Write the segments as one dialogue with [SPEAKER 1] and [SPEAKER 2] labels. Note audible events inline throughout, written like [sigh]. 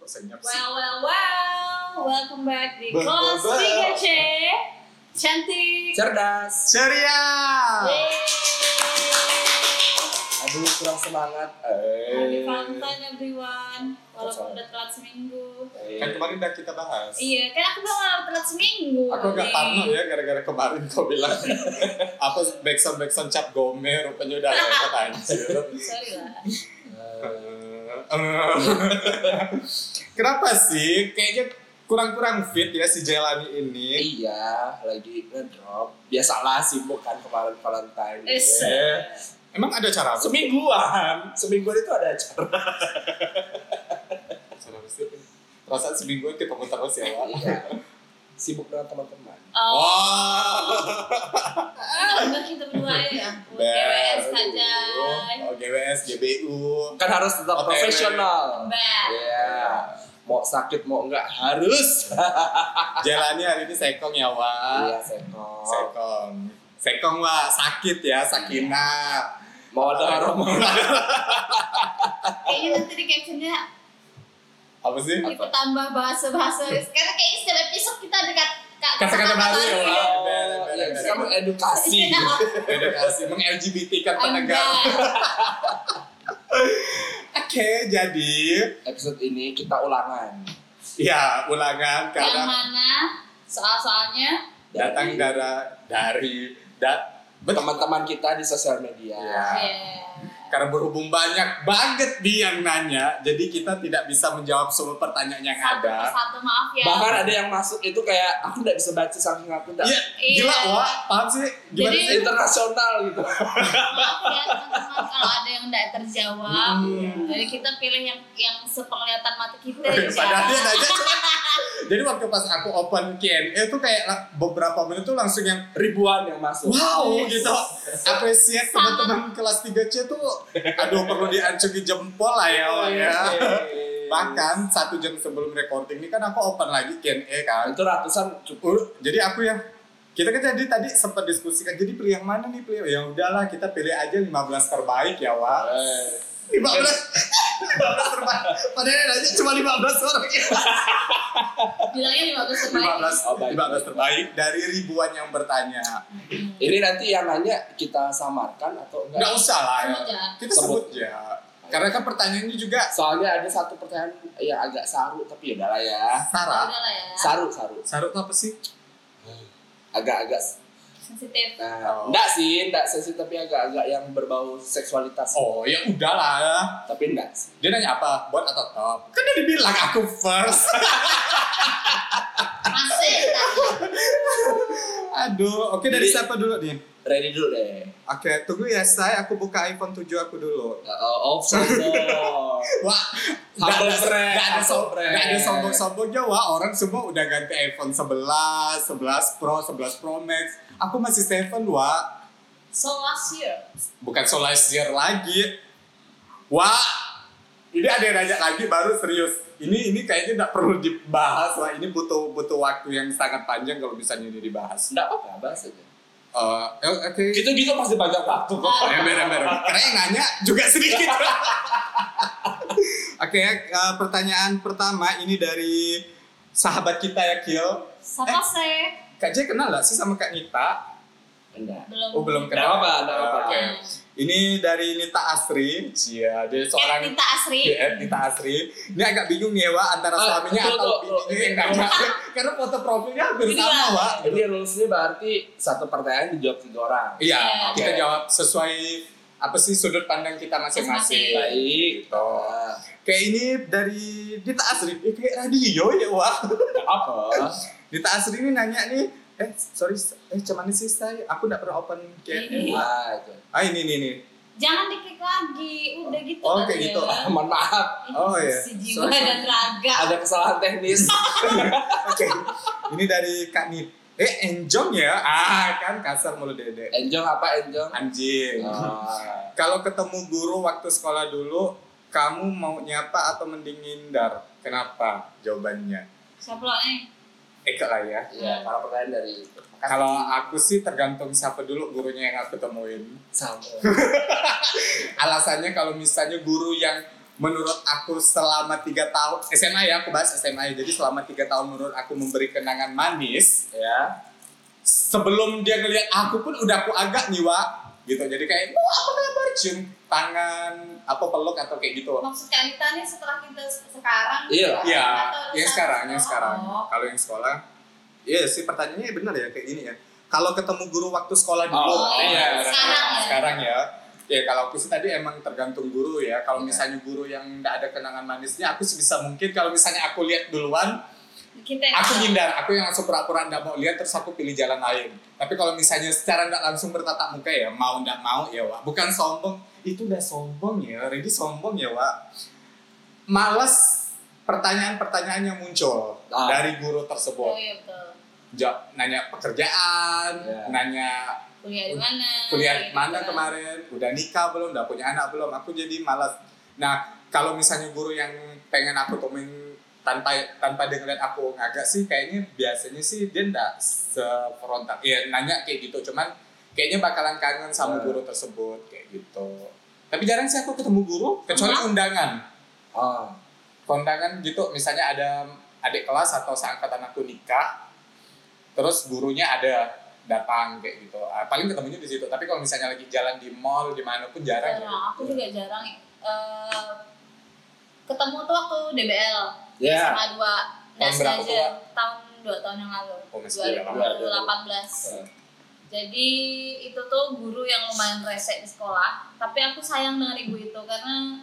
[SPEAKER 1] kok senyap sih?
[SPEAKER 2] Well, well, well. Welcome back di
[SPEAKER 1] Bah, bah,
[SPEAKER 2] kelas
[SPEAKER 1] bah.
[SPEAKER 2] 3C. Cantik.
[SPEAKER 3] cerdas
[SPEAKER 1] Ceria!
[SPEAKER 2] Yeay.
[SPEAKER 3] aduh kurang semangat
[SPEAKER 1] Eh.
[SPEAKER 2] Happy Valentine everyone. Walaupun udah telat seminggu.
[SPEAKER 1] Kan kemarin udah kita bahas.
[SPEAKER 2] Iya, kan aku bilang telat seminggu. Iya.
[SPEAKER 1] Aku agak
[SPEAKER 2] nih.
[SPEAKER 1] parno ya gara-gara kemarin kau bilang [laughs] apa backsound backsound cap gome rupanya udah lewat anjir. [laughs]
[SPEAKER 2] Sorry lah.
[SPEAKER 1] Eh, Kenapa sih? Kayaknya kurang-kurang fit ya si Jelani ini.
[SPEAKER 3] iya lagi ngedrop biasalah sibuk kan kemarin Valentine Ya.
[SPEAKER 2] Eh,
[SPEAKER 1] Eh, Emang ada cara apa?
[SPEAKER 3] semingguan semingguan itu ada acara
[SPEAKER 1] Cara apa sih? Perasaan seminggu itu pemutar terus ya. Wak?
[SPEAKER 3] iya. sibuk dengan teman-teman
[SPEAKER 2] Oh,
[SPEAKER 1] Wah.
[SPEAKER 2] kita kita berdua ya. Buat
[SPEAKER 1] Bel.
[SPEAKER 2] GWS saja.
[SPEAKER 1] Oh, GWS, GBU.
[SPEAKER 3] kan harus tetap
[SPEAKER 1] OTW.
[SPEAKER 3] profesional
[SPEAKER 2] Mbak.
[SPEAKER 3] iya mau sakit mau enggak harus
[SPEAKER 1] Iya, Jalannya hari ini sekong ya, Wak.
[SPEAKER 3] iya sekol
[SPEAKER 1] Sekong. Sekong, Wak. Sakit ya, Sakina.
[SPEAKER 3] mau ada aroma
[SPEAKER 1] Iya,
[SPEAKER 2] Kayaknya nanti di captionnya
[SPEAKER 1] Apa sih?
[SPEAKER 2] kita tambah bahasa-bahasa. Karena kayaknya setiap episode kita dekat ka-
[SPEAKER 1] Kata-kata baru ya, Wak.
[SPEAKER 3] Iya, bisa mengedukasi
[SPEAKER 1] Edukasi, meng-LGBT kan penegak.
[SPEAKER 2] Enggak.
[SPEAKER 1] Oke, jadi
[SPEAKER 3] episode ini kita ulangan
[SPEAKER 1] ya ulangan
[SPEAKER 2] yang
[SPEAKER 1] karena
[SPEAKER 2] mana soal-soalnya
[SPEAKER 1] datang
[SPEAKER 3] dari
[SPEAKER 1] dari dari da, betul
[SPEAKER 3] teman-teman kita di sosial media
[SPEAKER 1] Iya.
[SPEAKER 2] Iya.
[SPEAKER 1] karena berhubung banyak banget dia yang nanya, jadi kita tidak bisa menjawab semua pertanyaan yang
[SPEAKER 2] satu
[SPEAKER 1] ada.
[SPEAKER 2] persatu maaf ya
[SPEAKER 3] bahkan ada yang masuk itu kayak aku nggak bisa baca saking aku nggak
[SPEAKER 1] Iya,
[SPEAKER 2] Iya.
[SPEAKER 1] gila wah, paham sih? Gimana
[SPEAKER 2] Jadi-
[SPEAKER 1] sih?
[SPEAKER 3] internasional gitu
[SPEAKER 2] maaf ya teman-teman kalau ada yang tidak terjawab
[SPEAKER 1] Hmm.
[SPEAKER 2] jadi kita pilih yang yang sepenglihatan mata kita ya
[SPEAKER 1] [laughs] Padahal dia nanya cuma- Jadi waktu pas aku open Q&A itu kayak la- beberapa menit tuh langsung yang
[SPEAKER 3] ribuan yang masuk
[SPEAKER 1] Wow gitu Apresiat teman-teman kelas 3C tuh Aduh perlu diancuki jempol lah ya Wak,
[SPEAKER 3] Iya.
[SPEAKER 1] ya Bahkan satu jam sebelum recording ini kan aku open lagi Q&A kan.
[SPEAKER 3] itu ratusan cukup
[SPEAKER 1] Uh, jadi aku ya kita kan jadi tadi sempat diskusikan jadi pilih yang mana nih pilih ya udahlah kita pilih aja 15 terbaik ya Wak 15 15 terbaik padahal aja cuma 15 orang ya.
[SPEAKER 2] bilangnya lima belas
[SPEAKER 1] 15
[SPEAKER 3] Oh, baik.
[SPEAKER 1] 15 terbaik dari ribuan yang bertanya
[SPEAKER 3] ini nanti yang nanya kita samarkan atau
[SPEAKER 1] nggak
[SPEAKER 3] enggak
[SPEAKER 1] usah lah ya
[SPEAKER 2] Sebut ya.
[SPEAKER 1] kita sebut ya karena kan pertanyaannya juga
[SPEAKER 3] soalnya ada satu pertanyaan ya agak saru tapi ya udahlah ya
[SPEAKER 1] Iya. "Ah, Sarah
[SPEAKER 2] udah lah ya
[SPEAKER 3] saru saru
[SPEAKER 1] Sarah tuh apa sih
[SPEAKER 3] agak-agak
[SPEAKER 2] sensitif
[SPEAKER 3] nah,
[SPEAKER 1] Oh.
[SPEAKER 3] enggak sih enggak sensitif tapi agak-agak yang berbau seksualitas
[SPEAKER 1] oh ya udahlah
[SPEAKER 3] tapi enggak sih
[SPEAKER 1] Dia nanya apa? Buat atau top? Kan udah dibilang aku first. [laughs]
[SPEAKER 2] masih
[SPEAKER 1] Aduh, oke dari
[SPEAKER 3] Jadi-
[SPEAKER 1] siapa dulu nih?
[SPEAKER 3] ready dulu deh
[SPEAKER 1] Oke, tunggu ya saya, aku buka iPhone 7 aku dulu.
[SPEAKER 3] Oh, [laughs] sombong.
[SPEAKER 1] Wah,
[SPEAKER 3] Nggak
[SPEAKER 1] nggak
[SPEAKER 3] ada- nggak
[SPEAKER 1] ada sombong,
[SPEAKER 3] ada sombong.
[SPEAKER 1] nggak ada sombong-sombongnya. Wah, orang semua udah ganti iPhone 11, 11 Pro, 11 Pro Max. Aku masih 7, Wah.
[SPEAKER 2] so last year
[SPEAKER 1] Bukan so last year lagi. Wah, ini ada yang nanya lagi baru serius. Ini ini kayaknya nggak perlu dibahas lah. Ini butuh butuh waktu yang sangat panjang kalau misalnya ini dibahas.
[SPEAKER 3] Enggak apa-apa, bahas aja.
[SPEAKER 1] Eh, oke.
[SPEAKER 3] Gitu-gitu pasti banyak
[SPEAKER 1] Oh,
[SPEAKER 3] waktu kok.
[SPEAKER 2] Ah.
[SPEAKER 1] Ember, ember. Karena yang nanya juga sedikit. [laughs] Oke, eh, pertanyaan pertama ini dari sahabat kita ya, Kil.
[SPEAKER 2] siapa
[SPEAKER 1] Eh.
[SPEAKER 2] sih
[SPEAKER 1] Kak J kenal gak sih sama Kak Nita?
[SPEAKER 3] Enggak.
[SPEAKER 2] belum Eh,
[SPEAKER 1] Oh, belum
[SPEAKER 3] Enggak
[SPEAKER 1] kenal.
[SPEAKER 3] apa-apa, enggak apa-apa.
[SPEAKER 1] Oke. Ini dari Nita Asri. Iya, dia
[SPEAKER 2] Eh,
[SPEAKER 1] seorang
[SPEAKER 2] Nita Asri
[SPEAKER 1] DM Nita Iya, Asri. Ini agak bingung ya, Wak, antara
[SPEAKER 3] Ah,
[SPEAKER 1] suaminya
[SPEAKER 3] tuh,
[SPEAKER 1] atau
[SPEAKER 3] tuh, tuh.
[SPEAKER 1] bininya yang nanya. [laughs] Karena foto profilnya hampir
[SPEAKER 2] Iya.
[SPEAKER 1] sama, Wak.
[SPEAKER 3] Jadi rules-nya berarti satu pertanyaan dijawab tiga orang.
[SPEAKER 1] Iya,
[SPEAKER 2] Iya.
[SPEAKER 1] kita
[SPEAKER 3] Oke.
[SPEAKER 1] jawab sesuai apa sih sudut pandang kita masing-masing.
[SPEAKER 2] Masing-masing.
[SPEAKER 3] Baik.
[SPEAKER 1] Gitu.
[SPEAKER 3] Ah,
[SPEAKER 1] Kayak ini dari Dita Asri, eh, kayak radio ya wah.
[SPEAKER 3] enggak apa?
[SPEAKER 1] Dita Asri ini nanya nih, eh sorry, eh cuman sih saya, aku nggak pernah open kayak
[SPEAKER 2] Iya.
[SPEAKER 3] Nah, itu. [laughs]
[SPEAKER 1] Ah ini ini nih.
[SPEAKER 2] jangan diklik lagi udah gitu
[SPEAKER 1] Oh,
[SPEAKER 2] kali
[SPEAKER 1] kayak
[SPEAKER 2] ya.
[SPEAKER 1] gitu.
[SPEAKER 3] Ah, Mohon maaf,
[SPEAKER 1] Oh, iya.
[SPEAKER 2] si jiwa
[SPEAKER 1] Sorry.
[SPEAKER 2] dan raga
[SPEAKER 3] ada kesalahan teknis.
[SPEAKER 1] Oke, ini dari Kak Nit. Eh Enjong ya, ah kan kasar mulut dede.
[SPEAKER 3] Enjong apa enjong?
[SPEAKER 1] Anjing.
[SPEAKER 3] Ah.
[SPEAKER 1] Kalau ketemu guru waktu sekolah dulu, kamu mau nyapa atau mending ngindar? Kenapa? Jawabannya.
[SPEAKER 2] siapa lo nih
[SPEAKER 1] Eka lah ya.
[SPEAKER 3] Iya, kalau pertanyaan dari itu.
[SPEAKER 1] Kalau aku sih tergantung siapa dulu gurunya yang aku temuin.
[SPEAKER 3] sama.
[SPEAKER 1] alasannya kalau misalnya guru yang menurut aku selama tiga tahun SMA ya aku bahas SMA ya jadi selama tiga tahun menurut aku memberi kenangan manis ya sebelum dia ngelihat aku pun udah aku agak nyiwa gitu jadi kayak mau apa kabar cium tangan apa peluk atau kayak gitu
[SPEAKER 2] Maksud kita nih setelah kita se- sekarang?
[SPEAKER 3] Iya.
[SPEAKER 2] gitu,
[SPEAKER 1] Iya,
[SPEAKER 2] atau
[SPEAKER 1] yang sekarang, yang
[SPEAKER 2] oh.
[SPEAKER 1] sekarang. Kalau yang sekolah, iya sih pertanyaannya benar ya kayak gini ya. Kalau ketemu guru waktu sekolah dulu,
[SPEAKER 3] Oh, iya,
[SPEAKER 2] sekarang ya.
[SPEAKER 1] sekarang ya. Ya kalau aku sih tadi emang tergantung guru ya. Kalau misalnya guru yang nggak ada kenangan manisnya, aku sebisa mungkin kalau misalnya aku lihat duluan,
[SPEAKER 2] Kita
[SPEAKER 1] aku hindar. Aku yang langsung pura-pura nggak mau lihat, terus aku pilih jalan lain. Tapi kalau misalnya secara nggak langsung bertatap muka ya, mau nggak mau ya, Wak. Bukan sombong, itu udah sombong ya. Ready sombong ya, Wak. Males pertanyaan-pertanyaan yang muncul
[SPEAKER 3] Ah.
[SPEAKER 1] dari guru
[SPEAKER 2] Oh
[SPEAKER 1] tersebut.
[SPEAKER 2] iya betul.
[SPEAKER 1] Ja- nanya pekerjaan,
[SPEAKER 3] Ya.
[SPEAKER 1] nanya
[SPEAKER 2] Kuliah di mana?
[SPEAKER 1] kuliah
[SPEAKER 2] gitu
[SPEAKER 1] mana
[SPEAKER 2] kan.
[SPEAKER 1] kemarin, udah nikah belum, udah punya anak belum, aku jadi malas. Nah, kalau misalnya guru yang pengen aku temuin tanpa tanpa dia ngeliat aku ngagak sih kayaknya biasanya sih dia ndak sefrontal ya nanya kayak gitu cuman kayaknya bakalan kangen sama
[SPEAKER 3] Hmm.
[SPEAKER 1] guru tersebut kayak gitu tapi jarang sih aku ketemu guru kecuali
[SPEAKER 2] Emang?
[SPEAKER 1] undangan
[SPEAKER 3] Ah.
[SPEAKER 1] kondangan gitu misalnya ada adik kelas atau seangkatan aku nikah terus gurunya ada datang kayak gitu Ah, paling ketemunya di situ tapi kalau misalnya lagi jalan di mall di mana pun jarang ya.
[SPEAKER 2] Jarang. Aku juga jarang. eh, ketemu tuh waktu DBL
[SPEAKER 3] Ya.
[SPEAKER 2] sama dua. Nah,
[SPEAKER 1] Tahun berapa tuh, Wak?
[SPEAKER 2] sengaja tahun dua tahun yang lalu.
[SPEAKER 1] Oh, masih udah lama.
[SPEAKER 3] iya.
[SPEAKER 2] 2018. Jadi itu tuh guru yang lumayan rese di sekolah, tapi aku sayang dengan ibu itu karena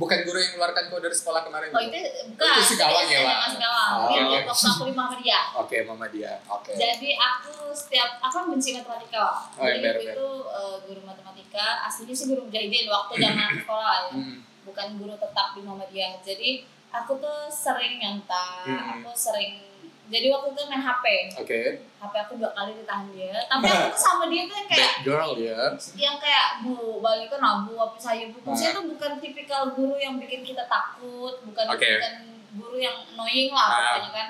[SPEAKER 1] bukan guru yang mengeluarkan kau dari sekolah kemarin
[SPEAKER 2] oh
[SPEAKER 1] gitu?
[SPEAKER 2] itu bukan
[SPEAKER 1] Itu si Gawang ya, Wak?
[SPEAKER 2] Mas Gawang.
[SPEAKER 3] Oh,
[SPEAKER 2] Yang
[SPEAKER 1] oke.
[SPEAKER 2] waktu aku di Muhammadiyah.
[SPEAKER 1] oke mama dia oke
[SPEAKER 2] Jadi aku setiap aku kan benci matematika. Wak.
[SPEAKER 1] Oh, iya,
[SPEAKER 2] Jadi
[SPEAKER 1] bener,
[SPEAKER 2] ibu
[SPEAKER 1] bener.
[SPEAKER 2] itu eh, guru matematika, aslinya sih guru mujahidin waktu zaman
[SPEAKER 1] [coughs]
[SPEAKER 2] sekolah ya.
[SPEAKER 1] Hmm.
[SPEAKER 2] Bukan guru tetap di Muhammadiyah. Jadi aku tuh sering nyontak,
[SPEAKER 1] Hmm.
[SPEAKER 2] aku sering jadi waktu itu main HP,
[SPEAKER 1] oke
[SPEAKER 2] HP aku dua kali ditahan dia. Tapi
[SPEAKER 1] Nah.
[SPEAKER 2] aku tuh sama dia tuh yang kayak
[SPEAKER 1] bad girl ya
[SPEAKER 2] yang kayak bu balik kan nah, bu apa saya bu maksudnya
[SPEAKER 1] Nah.
[SPEAKER 2] tuh bukan tipikal guru yang bikin kita takut bukan
[SPEAKER 1] Oke.
[SPEAKER 2] bukan guru yang
[SPEAKER 1] Ah.
[SPEAKER 2] annoying lah pokoknya kan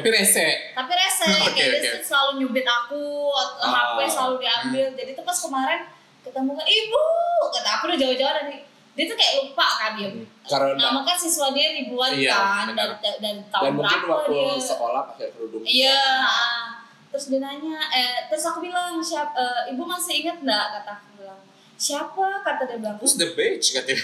[SPEAKER 1] tapi rese
[SPEAKER 2] tapi rese
[SPEAKER 1] [laughs] Oke,
[SPEAKER 2] kayak dia
[SPEAKER 1] oke.
[SPEAKER 2] tuh selalu nyubit aku atau
[SPEAKER 1] Ah. Hmm.
[SPEAKER 2] HP selalu diambil jadi tuh pas kemarin ketemu kan ibu kata aku udah jauh-jauh dari dia tuh kayak lupa kan dia
[SPEAKER 1] Hmm.
[SPEAKER 2] nah
[SPEAKER 3] Karena
[SPEAKER 2] maka siswa dia ribuan
[SPEAKER 1] Iya,
[SPEAKER 2] kan
[SPEAKER 1] benar.
[SPEAKER 2] dari, dari
[SPEAKER 3] dan
[SPEAKER 2] tahun
[SPEAKER 3] mungkin
[SPEAKER 2] berapa
[SPEAKER 3] waktu
[SPEAKER 2] dia
[SPEAKER 3] sekolah pakai kerudung.
[SPEAKER 2] Iya. ah. Terus dia nanya, eh, terus aku bilang, siapa, eh, ibu masih ingat nggak kata aku bilang. Siapa kata dia bilang.
[SPEAKER 1] who's the bitch
[SPEAKER 2] [laughs]
[SPEAKER 1] katanya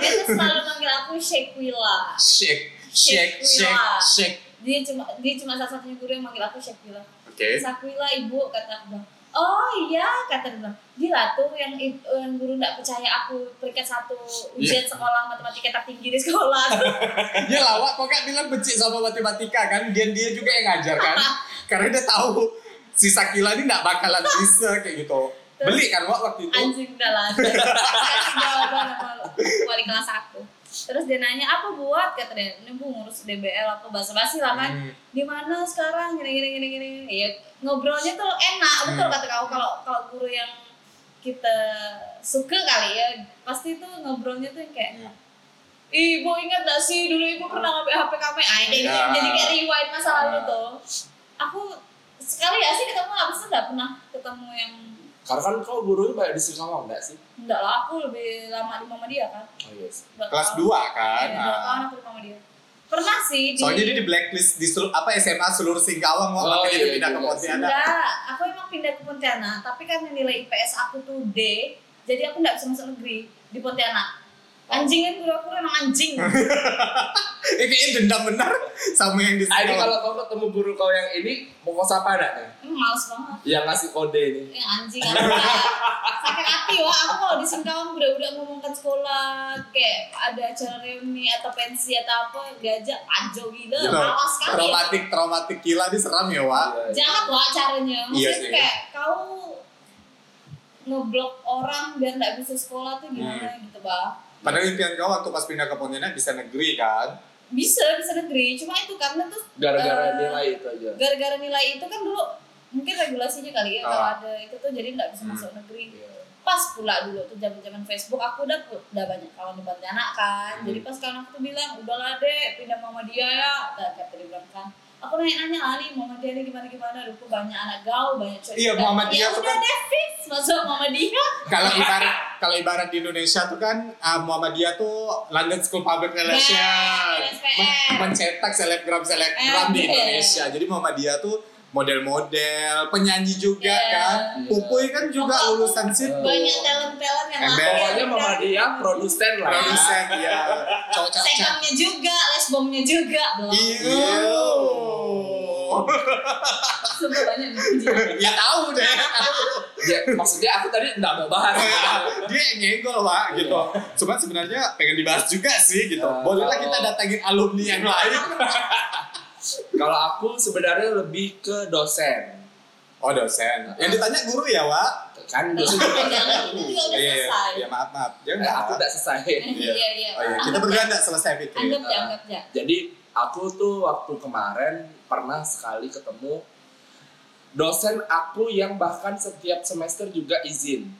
[SPEAKER 2] Dia tuh selalu manggil aku Shakewila.
[SPEAKER 1] shake shake shake shake
[SPEAKER 2] Dia cuma dia cuma salah satunya guru yang manggil aku Shakewila.
[SPEAKER 1] oke
[SPEAKER 2] Shakewila ibu kata aku bilang. Oh iya kata dia bilang. Gila tuh yang, i- yang guru nggak percaya aku peringkat satu ujian sekolah matematika tertinggi di sekolah.
[SPEAKER 1] Dia lawak kok gak bilang benci sama matematika kan? Dia dia juga yang ngajar
[SPEAKER 2] [laughs]
[SPEAKER 1] kan? Karena dia tahu si Sakila ini gak bakalan bisa kayak gitu. Beli kan Wak waktu itu?
[SPEAKER 2] anjing dalam
[SPEAKER 1] [laughs]
[SPEAKER 2] kasih jawaban sama wali kelas aku terus dia nanya apa buat kata dia ini bu ngurus DBL apa bahasa basi lah kan
[SPEAKER 1] Hmm.
[SPEAKER 2] di mana sekarang gini gini gini gini ya ngobrolnya tuh enak betul
[SPEAKER 1] Hmm.
[SPEAKER 2] kata kau kalau kalau guru yang kita suka kali ya pasti tuh ngobrolnya tuh yang kayak
[SPEAKER 1] Iya.
[SPEAKER 2] Ibu ingat gak sih dulu ibu pernah ngambil HP kami? Ah, ini
[SPEAKER 1] Ya.
[SPEAKER 2] ini- jadi kayak rewind masa lalu
[SPEAKER 1] Ya.
[SPEAKER 2] tuh. Aku sekali ya sih ketemu, abis itu gak pernah ketemu yang
[SPEAKER 3] Karena kan kau gurunya banyak disuruh sama enggak sih?
[SPEAKER 2] Enggak lah, aku lebih lama di mama dia kan.
[SPEAKER 3] Oh iya sih.
[SPEAKER 2] Dua
[SPEAKER 1] Kelas
[SPEAKER 2] tahun.
[SPEAKER 1] 2 kan?
[SPEAKER 2] Iya, dua
[SPEAKER 1] Nah.
[SPEAKER 2] tahun aku di mama dia. Pernah sih di
[SPEAKER 1] Soalnya dia di blacklist di seluruh, apa SMA seluruh Singkawang Wak
[SPEAKER 3] Oh,
[SPEAKER 1] makanya dia
[SPEAKER 3] iya,
[SPEAKER 1] pindah ke
[SPEAKER 3] iya.
[SPEAKER 1] Pontianak.
[SPEAKER 2] Enggak, aku emang pindah ke Pontianak, tapi karena nilai IPS aku tuh D, jadi aku enggak bisa masuk negeri di Pontianak. Anjing kan guru aku emang
[SPEAKER 1] [laughs]
[SPEAKER 2] anjing.
[SPEAKER 1] Eh kayaknya dendam benar [laughs] sama yang di
[SPEAKER 3] Ah, ini
[SPEAKER 1] Singkawang.
[SPEAKER 3] kalau kau ketemu guru kau yang ini mau kau sapa enggak nih?
[SPEAKER 2] Emang males banget.
[SPEAKER 3] Yang ngasih kode ini.
[SPEAKER 2] Ya anjing aku ya. Sakit hati wah, aku kalau di Singkawang budak-budak ngomongkan sekolah kayak ada acara reuni atau pensi atau apa gajah panjo gitu.
[SPEAKER 1] Gitu.
[SPEAKER 2] Malas sekali.
[SPEAKER 1] Traumatik traumatik gila di seram ya Wak.
[SPEAKER 3] Iya, iya.
[SPEAKER 2] jahat lah caranya maksudnya
[SPEAKER 1] Iya
[SPEAKER 2] tuh
[SPEAKER 1] sih.
[SPEAKER 2] kayak kau ngeblok orang biar nggak bisa sekolah tuh gimana
[SPEAKER 1] Hmm.
[SPEAKER 2] gitu bah
[SPEAKER 1] Padahal impian kau waktu pas pindah ke Pontianak bisa negeri kan?
[SPEAKER 2] bisa bisa negeri cuma itu karena tuh Eh,
[SPEAKER 3] Gara-gara nilai itu aja.
[SPEAKER 2] gara-gara nilai itu kan dulu mungkin regulasinya kali ya
[SPEAKER 1] Ah.
[SPEAKER 2] kalau ada itu tuh jadi nggak bisa
[SPEAKER 1] Hmm.
[SPEAKER 2] masuk negeri
[SPEAKER 3] Iya.
[SPEAKER 2] pas pula dulu tuh zaman zaman Facebook aku udah udah banyak kawan di Pontianak kan jadi
[SPEAKER 1] Hmm.
[SPEAKER 2] pas kawan aku tuh bilang udahlah deh pindah mama dia ya dan kata dia bilang kan aku nanya-nanya Ali Muhammadiyah ini gimana-gimana dulu banyak anak gaul banyak cewek
[SPEAKER 1] Iya,
[SPEAKER 2] juga."
[SPEAKER 1] Muhammadiyah
[SPEAKER 2] ya,
[SPEAKER 1] tuh
[SPEAKER 2] udah
[SPEAKER 1] kan-
[SPEAKER 2] deh fix masuk Muhammadiyah
[SPEAKER 1] Kalau ibarat kalau ibarat di Indonesia tuh kan ah, Muhammadiyah tuh London School Public Relations
[SPEAKER 2] Nah, LSPR.
[SPEAKER 1] Men- mencetak selebgram selebgram di
[SPEAKER 2] Eh.
[SPEAKER 1] Indonesia. Jadi Muhammadiyah tuh model-model, penyanyi juga
[SPEAKER 2] Iya.
[SPEAKER 1] kan.
[SPEAKER 3] Iya.
[SPEAKER 1] Pupuy kan juga
[SPEAKER 2] Pokok-
[SPEAKER 1] lulusan situ.
[SPEAKER 2] banyak talent talent yang
[SPEAKER 1] Ember.
[SPEAKER 2] lahir
[SPEAKER 3] Pokoknya mama
[SPEAKER 2] dari-
[SPEAKER 3] dia produsen lah.
[SPEAKER 1] Produsen ya. Cocok-cocok.
[SPEAKER 2] Sekapnya juga, lesbomnya juga, belum.
[SPEAKER 1] Iya.
[SPEAKER 2] Sumpah banyak
[SPEAKER 1] [laughs]
[SPEAKER 2] dipuji.
[SPEAKER 1] ya tahu deh.
[SPEAKER 3] Ya, maksudnya aku tadi nggak mau bahas.
[SPEAKER 1] Dia yang nyenggol pak
[SPEAKER 3] Iya.
[SPEAKER 1] gitu. Cuman sebenarnya pengen dibahas juga sih gitu.
[SPEAKER 3] Nah,
[SPEAKER 1] Bolehlah
[SPEAKER 3] kalau-
[SPEAKER 1] kita datangin alumni yang lain.
[SPEAKER 3] Kalau aku sebenarnya lebih ke dosen.
[SPEAKER 1] Oh dosen. Yang ditanya guru ya, Wak?
[SPEAKER 3] Kan dosen
[SPEAKER 2] Jangan, itu juga
[SPEAKER 1] Iya,
[SPEAKER 2] udah
[SPEAKER 1] iya.
[SPEAKER 2] selesai.
[SPEAKER 1] Ya maaf, maaf. Jangan
[SPEAKER 3] Eh, aku
[SPEAKER 1] maaf.
[SPEAKER 3] nggak selesai.
[SPEAKER 1] Iya.
[SPEAKER 2] Iya, iya.
[SPEAKER 1] Oh iya, kita berdua nggak selesai Fitri.
[SPEAKER 2] Anggap ya, anggap ya.
[SPEAKER 3] Eh, Jadi aku tuh waktu kemarin pernah sekali ketemu dosen aku yang bahkan setiap semester juga izin.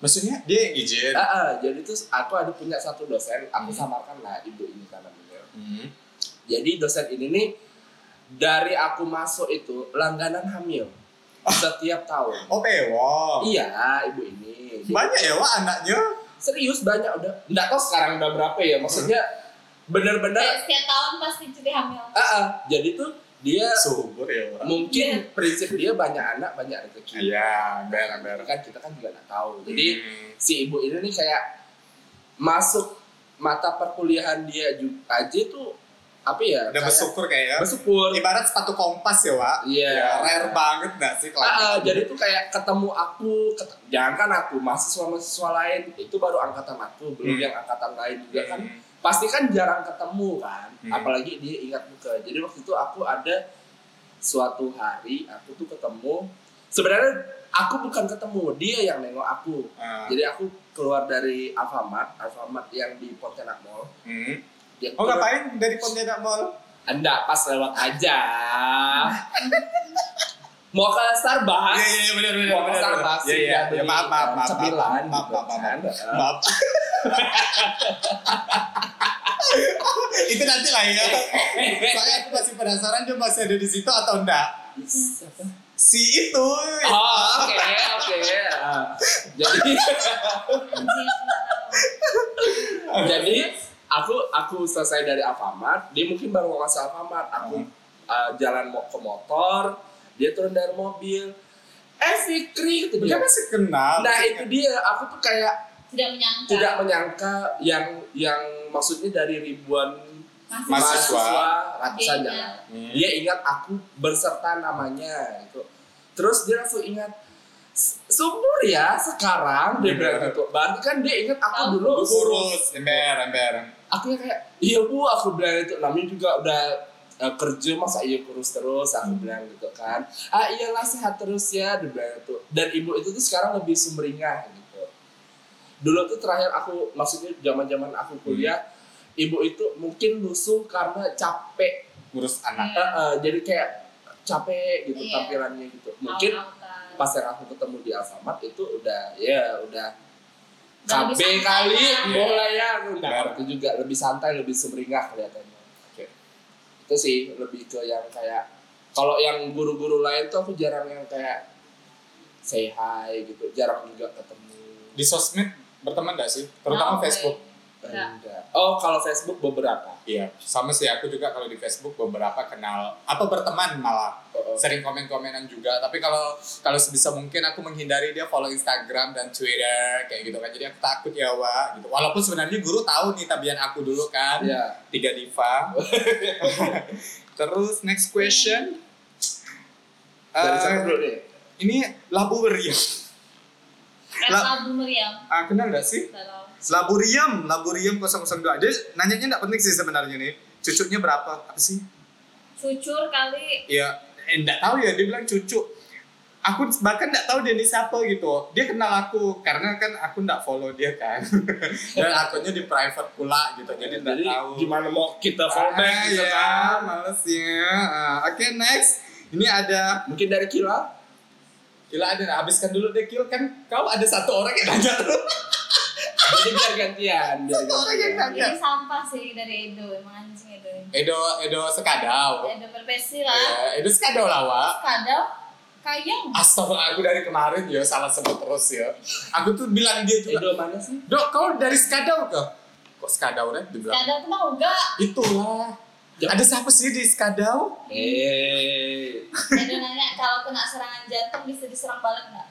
[SPEAKER 1] Maksudnya dia yang izin.
[SPEAKER 3] Ah, ah, jadi tuh aku ada punya satu dosen, aku samarkan lah ibu ini karena beliau.
[SPEAKER 1] Hmm.
[SPEAKER 3] Jadi dosen ini nih dari aku masuk itu langganan hamil setiap
[SPEAKER 1] Ah.
[SPEAKER 3] tahun.
[SPEAKER 1] Oh pewong.
[SPEAKER 3] Iya, ibu ini. Jadi,
[SPEAKER 1] Banyak ya Wak anaknya.
[SPEAKER 3] serius banyak udah. Nggak tahu sekarang udah berapa ya. Maksudnya
[SPEAKER 2] Kayak
[SPEAKER 3] bener-bener.
[SPEAKER 2] Setiap tahun pasti cuti hamil. kan,
[SPEAKER 3] Ah, ah, jadi tuh dia
[SPEAKER 1] Subur ya Wak.
[SPEAKER 3] mungkin
[SPEAKER 2] Iya.
[SPEAKER 3] prinsip dia banyak anak banyak rezeki.
[SPEAKER 1] Iya, Hmm. benar benar.
[SPEAKER 3] Kan kita kan juga nggak tahu.
[SPEAKER 1] Iya.
[SPEAKER 3] Jadi si ibu ini nih kayak masuk mata perkuliahan dia juga aja tuh apa ya?
[SPEAKER 1] udah Iya.
[SPEAKER 3] kayak-
[SPEAKER 1] bersyukur kayaknya.
[SPEAKER 3] bersyukur.
[SPEAKER 1] Ibarat sepatu kompas ya Wak.
[SPEAKER 3] Iya.
[SPEAKER 1] Ya, rare banget nggak sih kalau
[SPEAKER 3] Ah, ah, jadi tuh kayak ketemu aku, ket- jangan kan aku mahasiswa mahasiswa lain itu baru angkatan aku, belum
[SPEAKER 1] Hmm.
[SPEAKER 3] yang angkatan lain juga kan
[SPEAKER 1] Hmm.
[SPEAKER 3] pasti kan jarang ketemu kan,
[SPEAKER 1] Hmm.
[SPEAKER 3] apalagi dia ingat muka. Jadi waktu itu aku ada suatu hari aku tuh ketemu, sebenarnya aku bukan ketemu dia yang nengok aku.
[SPEAKER 1] Ah.
[SPEAKER 3] Jadi aku keluar dari Alfamart, Alfamart yang di Pontianak Mall.
[SPEAKER 1] Hmm.
[SPEAKER 3] Dia
[SPEAKER 1] Oh ngapain dari Pontianak Mall?
[SPEAKER 3] Anda pas lewat aja.
[SPEAKER 1] [laughs]
[SPEAKER 3] Mau ke Starbucks?
[SPEAKER 1] iya benar
[SPEAKER 3] Mau ke Starbucks,
[SPEAKER 1] Iya iya.
[SPEAKER 3] beli,
[SPEAKER 1] Ya, maaf maaf
[SPEAKER 3] eh,
[SPEAKER 1] maaf.
[SPEAKER 3] Cemilan,
[SPEAKER 1] Maaf
[SPEAKER 3] gitu
[SPEAKER 1] maaf maaf.
[SPEAKER 3] kan.
[SPEAKER 1] maaf. Maaf. Itu nanti lah ya. Soalnya aku masih penasaran dia masih ada di situ atau enggak.
[SPEAKER 3] Siapa?
[SPEAKER 1] Si itu.
[SPEAKER 3] Oh, oke, oke. Ah, Jadi,
[SPEAKER 2] Anjing,
[SPEAKER 3] [laughs]
[SPEAKER 2] aku nggak tahu.
[SPEAKER 3] jadi aku aku selesai dari Alfamart, dia mungkin baru mau ngasih Alfamart, aku
[SPEAKER 1] Hmm.
[SPEAKER 3] ah, jalan mau ke motor, dia turun dari mobil. Eh Fikri, gitu
[SPEAKER 1] Dia
[SPEAKER 3] dia.
[SPEAKER 1] masih kenal. Iya.
[SPEAKER 3] Nah itu dia, aku tuh kayak
[SPEAKER 2] Tidak menyangka.
[SPEAKER 3] tidak menyangka yang yang maksudnya dari ribuan
[SPEAKER 2] Masih
[SPEAKER 1] Mahasiswa.
[SPEAKER 3] mahasiswa, ratusan
[SPEAKER 2] Iya.
[SPEAKER 3] jangan.
[SPEAKER 1] Hmm.
[SPEAKER 3] Dia ingat aku berserta namanya gitu. Terus dia langsung ingat "S- subur ya sekarang dia bilang gitu. Berarti kan dia ingat
[SPEAKER 2] Tahu.
[SPEAKER 3] aku dulu kurus.
[SPEAKER 1] Kurus, ember, ember.
[SPEAKER 3] Aku yang kayak iya bu aku bilang itu namanya juga udah eh, kerja masa iya kurus terus aku bilang gitu kan. Ah iyalah sehat terus ya dia bilang gitu. Dan ibu itu tuh sekarang lebih sumringah gitu. Dulu tuh terakhir aku maksudnya zaman-zaman aku kuliah ibu itu mungkin lusuh karena capek
[SPEAKER 1] Kurus anak.
[SPEAKER 3] Eh, eh, jadi kayak capek gitu
[SPEAKER 2] Iya.
[SPEAKER 3] tampilannya gitu mungkin
[SPEAKER 2] Awal-awal.
[SPEAKER 3] pas yang aku ketemu di Alfamart itu udah ya udah
[SPEAKER 2] Udah
[SPEAKER 3] KB
[SPEAKER 2] lebih santai
[SPEAKER 3] kali
[SPEAKER 2] lah.
[SPEAKER 3] mulai ya udah
[SPEAKER 1] Benar.
[SPEAKER 3] itu juga lebih santai lebih sumringah kelihatannya itu sih lebih ke yang kayak kalau yang guru-guru lain tuh aku jarang yang kayak say hi gitu jarang juga ketemu
[SPEAKER 1] Di sosmed berteman gak sih?
[SPEAKER 2] Nah,
[SPEAKER 1] Terutama
[SPEAKER 2] oke.
[SPEAKER 1] Facebook.
[SPEAKER 2] Enggak.
[SPEAKER 3] Enggak. oh kalau Facebook beberapa
[SPEAKER 1] Iya, sama sih aku juga kalau di Facebook beberapa kenal apa berteman malah
[SPEAKER 3] Oh, oh.
[SPEAKER 1] sering komen-komenan juga. Tapi kalau kalau sebisa mungkin aku menghindari dia follow Instagram dan Twitter kayak gitu kan. Jadi aku takut ya wa gitu. Walaupun sebenarnya guru tahu nih tabian aku dulu kan.
[SPEAKER 3] Iya.
[SPEAKER 1] Tiga
[SPEAKER 3] [laughs]
[SPEAKER 1] diva. Terus next question.
[SPEAKER 3] dari
[SPEAKER 1] Eh,
[SPEAKER 3] siapa dulu nih
[SPEAKER 1] ini Labu Meriam.
[SPEAKER 2] Rap
[SPEAKER 1] Lah.
[SPEAKER 2] album meriam.
[SPEAKER 1] Ah, kenal gak sih?
[SPEAKER 2] Kalau
[SPEAKER 1] Labu Riam, Labu Riam 002. Dia nanyanya gak penting sih sebenarnya nih. Cucunya berapa? Apa sih?
[SPEAKER 2] cucur kali.
[SPEAKER 1] ya enggak tahu ya dia bilang cucu aku bahkan enggak tahu dia ini siapa gitu dia kenal aku karena kan aku enggak follow dia kan [laughs] dan akunnya di private pula gitu jadi enggak tahu
[SPEAKER 3] gimana mau kita
[SPEAKER 1] ah,
[SPEAKER 3] fallback gitu
[SPEAKER 1] ya,
[SPEAKER 3] kan
[SPEAKER 1] males ya Ah, oke next ini ada
[SPEAKER 3] mungkin dari Kila
[SPEAKER 1] Gila ada nah, habiskan dulu deh Kil kan kau ada satu orang yang nanya [laughs] terus
[SPEAKER 3] Jadi biar gantian, biar
[SPEAKER 1] Satu orang yang
[SPEAKER 3] gantian.
[SPEAKER 1] nanya.
[SPEAKER 2] Ini sampah sih dari Edo, emang anjing Edo.
[SPEAKER 1] Edo Edo Sekadau
[SPEAKER 3] Iya.
[SPEAKER 2] Edo berpesi lah.
[SPEAKER 1] Ya, Edo Sekadau lah Wak
[SPEAKER 2] Kadang kayang
[SPEAKER 3] Ah,
[SPEAKER 1] Astaga, aku dari kemarin ya salah sebut terus ya. Aku tuh bilang dia juga,
[SPEAKER 3] Edo Eh, mana sih?
[SPEAKER 1] Dok, kau dari Skadau kok? Kok Skadau nih?
[SPEAKER 2] gak
[SPEAKER 3] iya.
[SPEAKER 1] Dibilang,
[SPEAKER 2] ada tuh mau enggak
[SPEAKER 1] itulah.
[SPEAKER 3] Ya.
[SPEAKER 1] Ada siapa sih di Skadau?
[SPEAKER 3] Eh,
[SPEAKER 2] ada nanya kalau kena serangan jantung bisa diserang balik nggak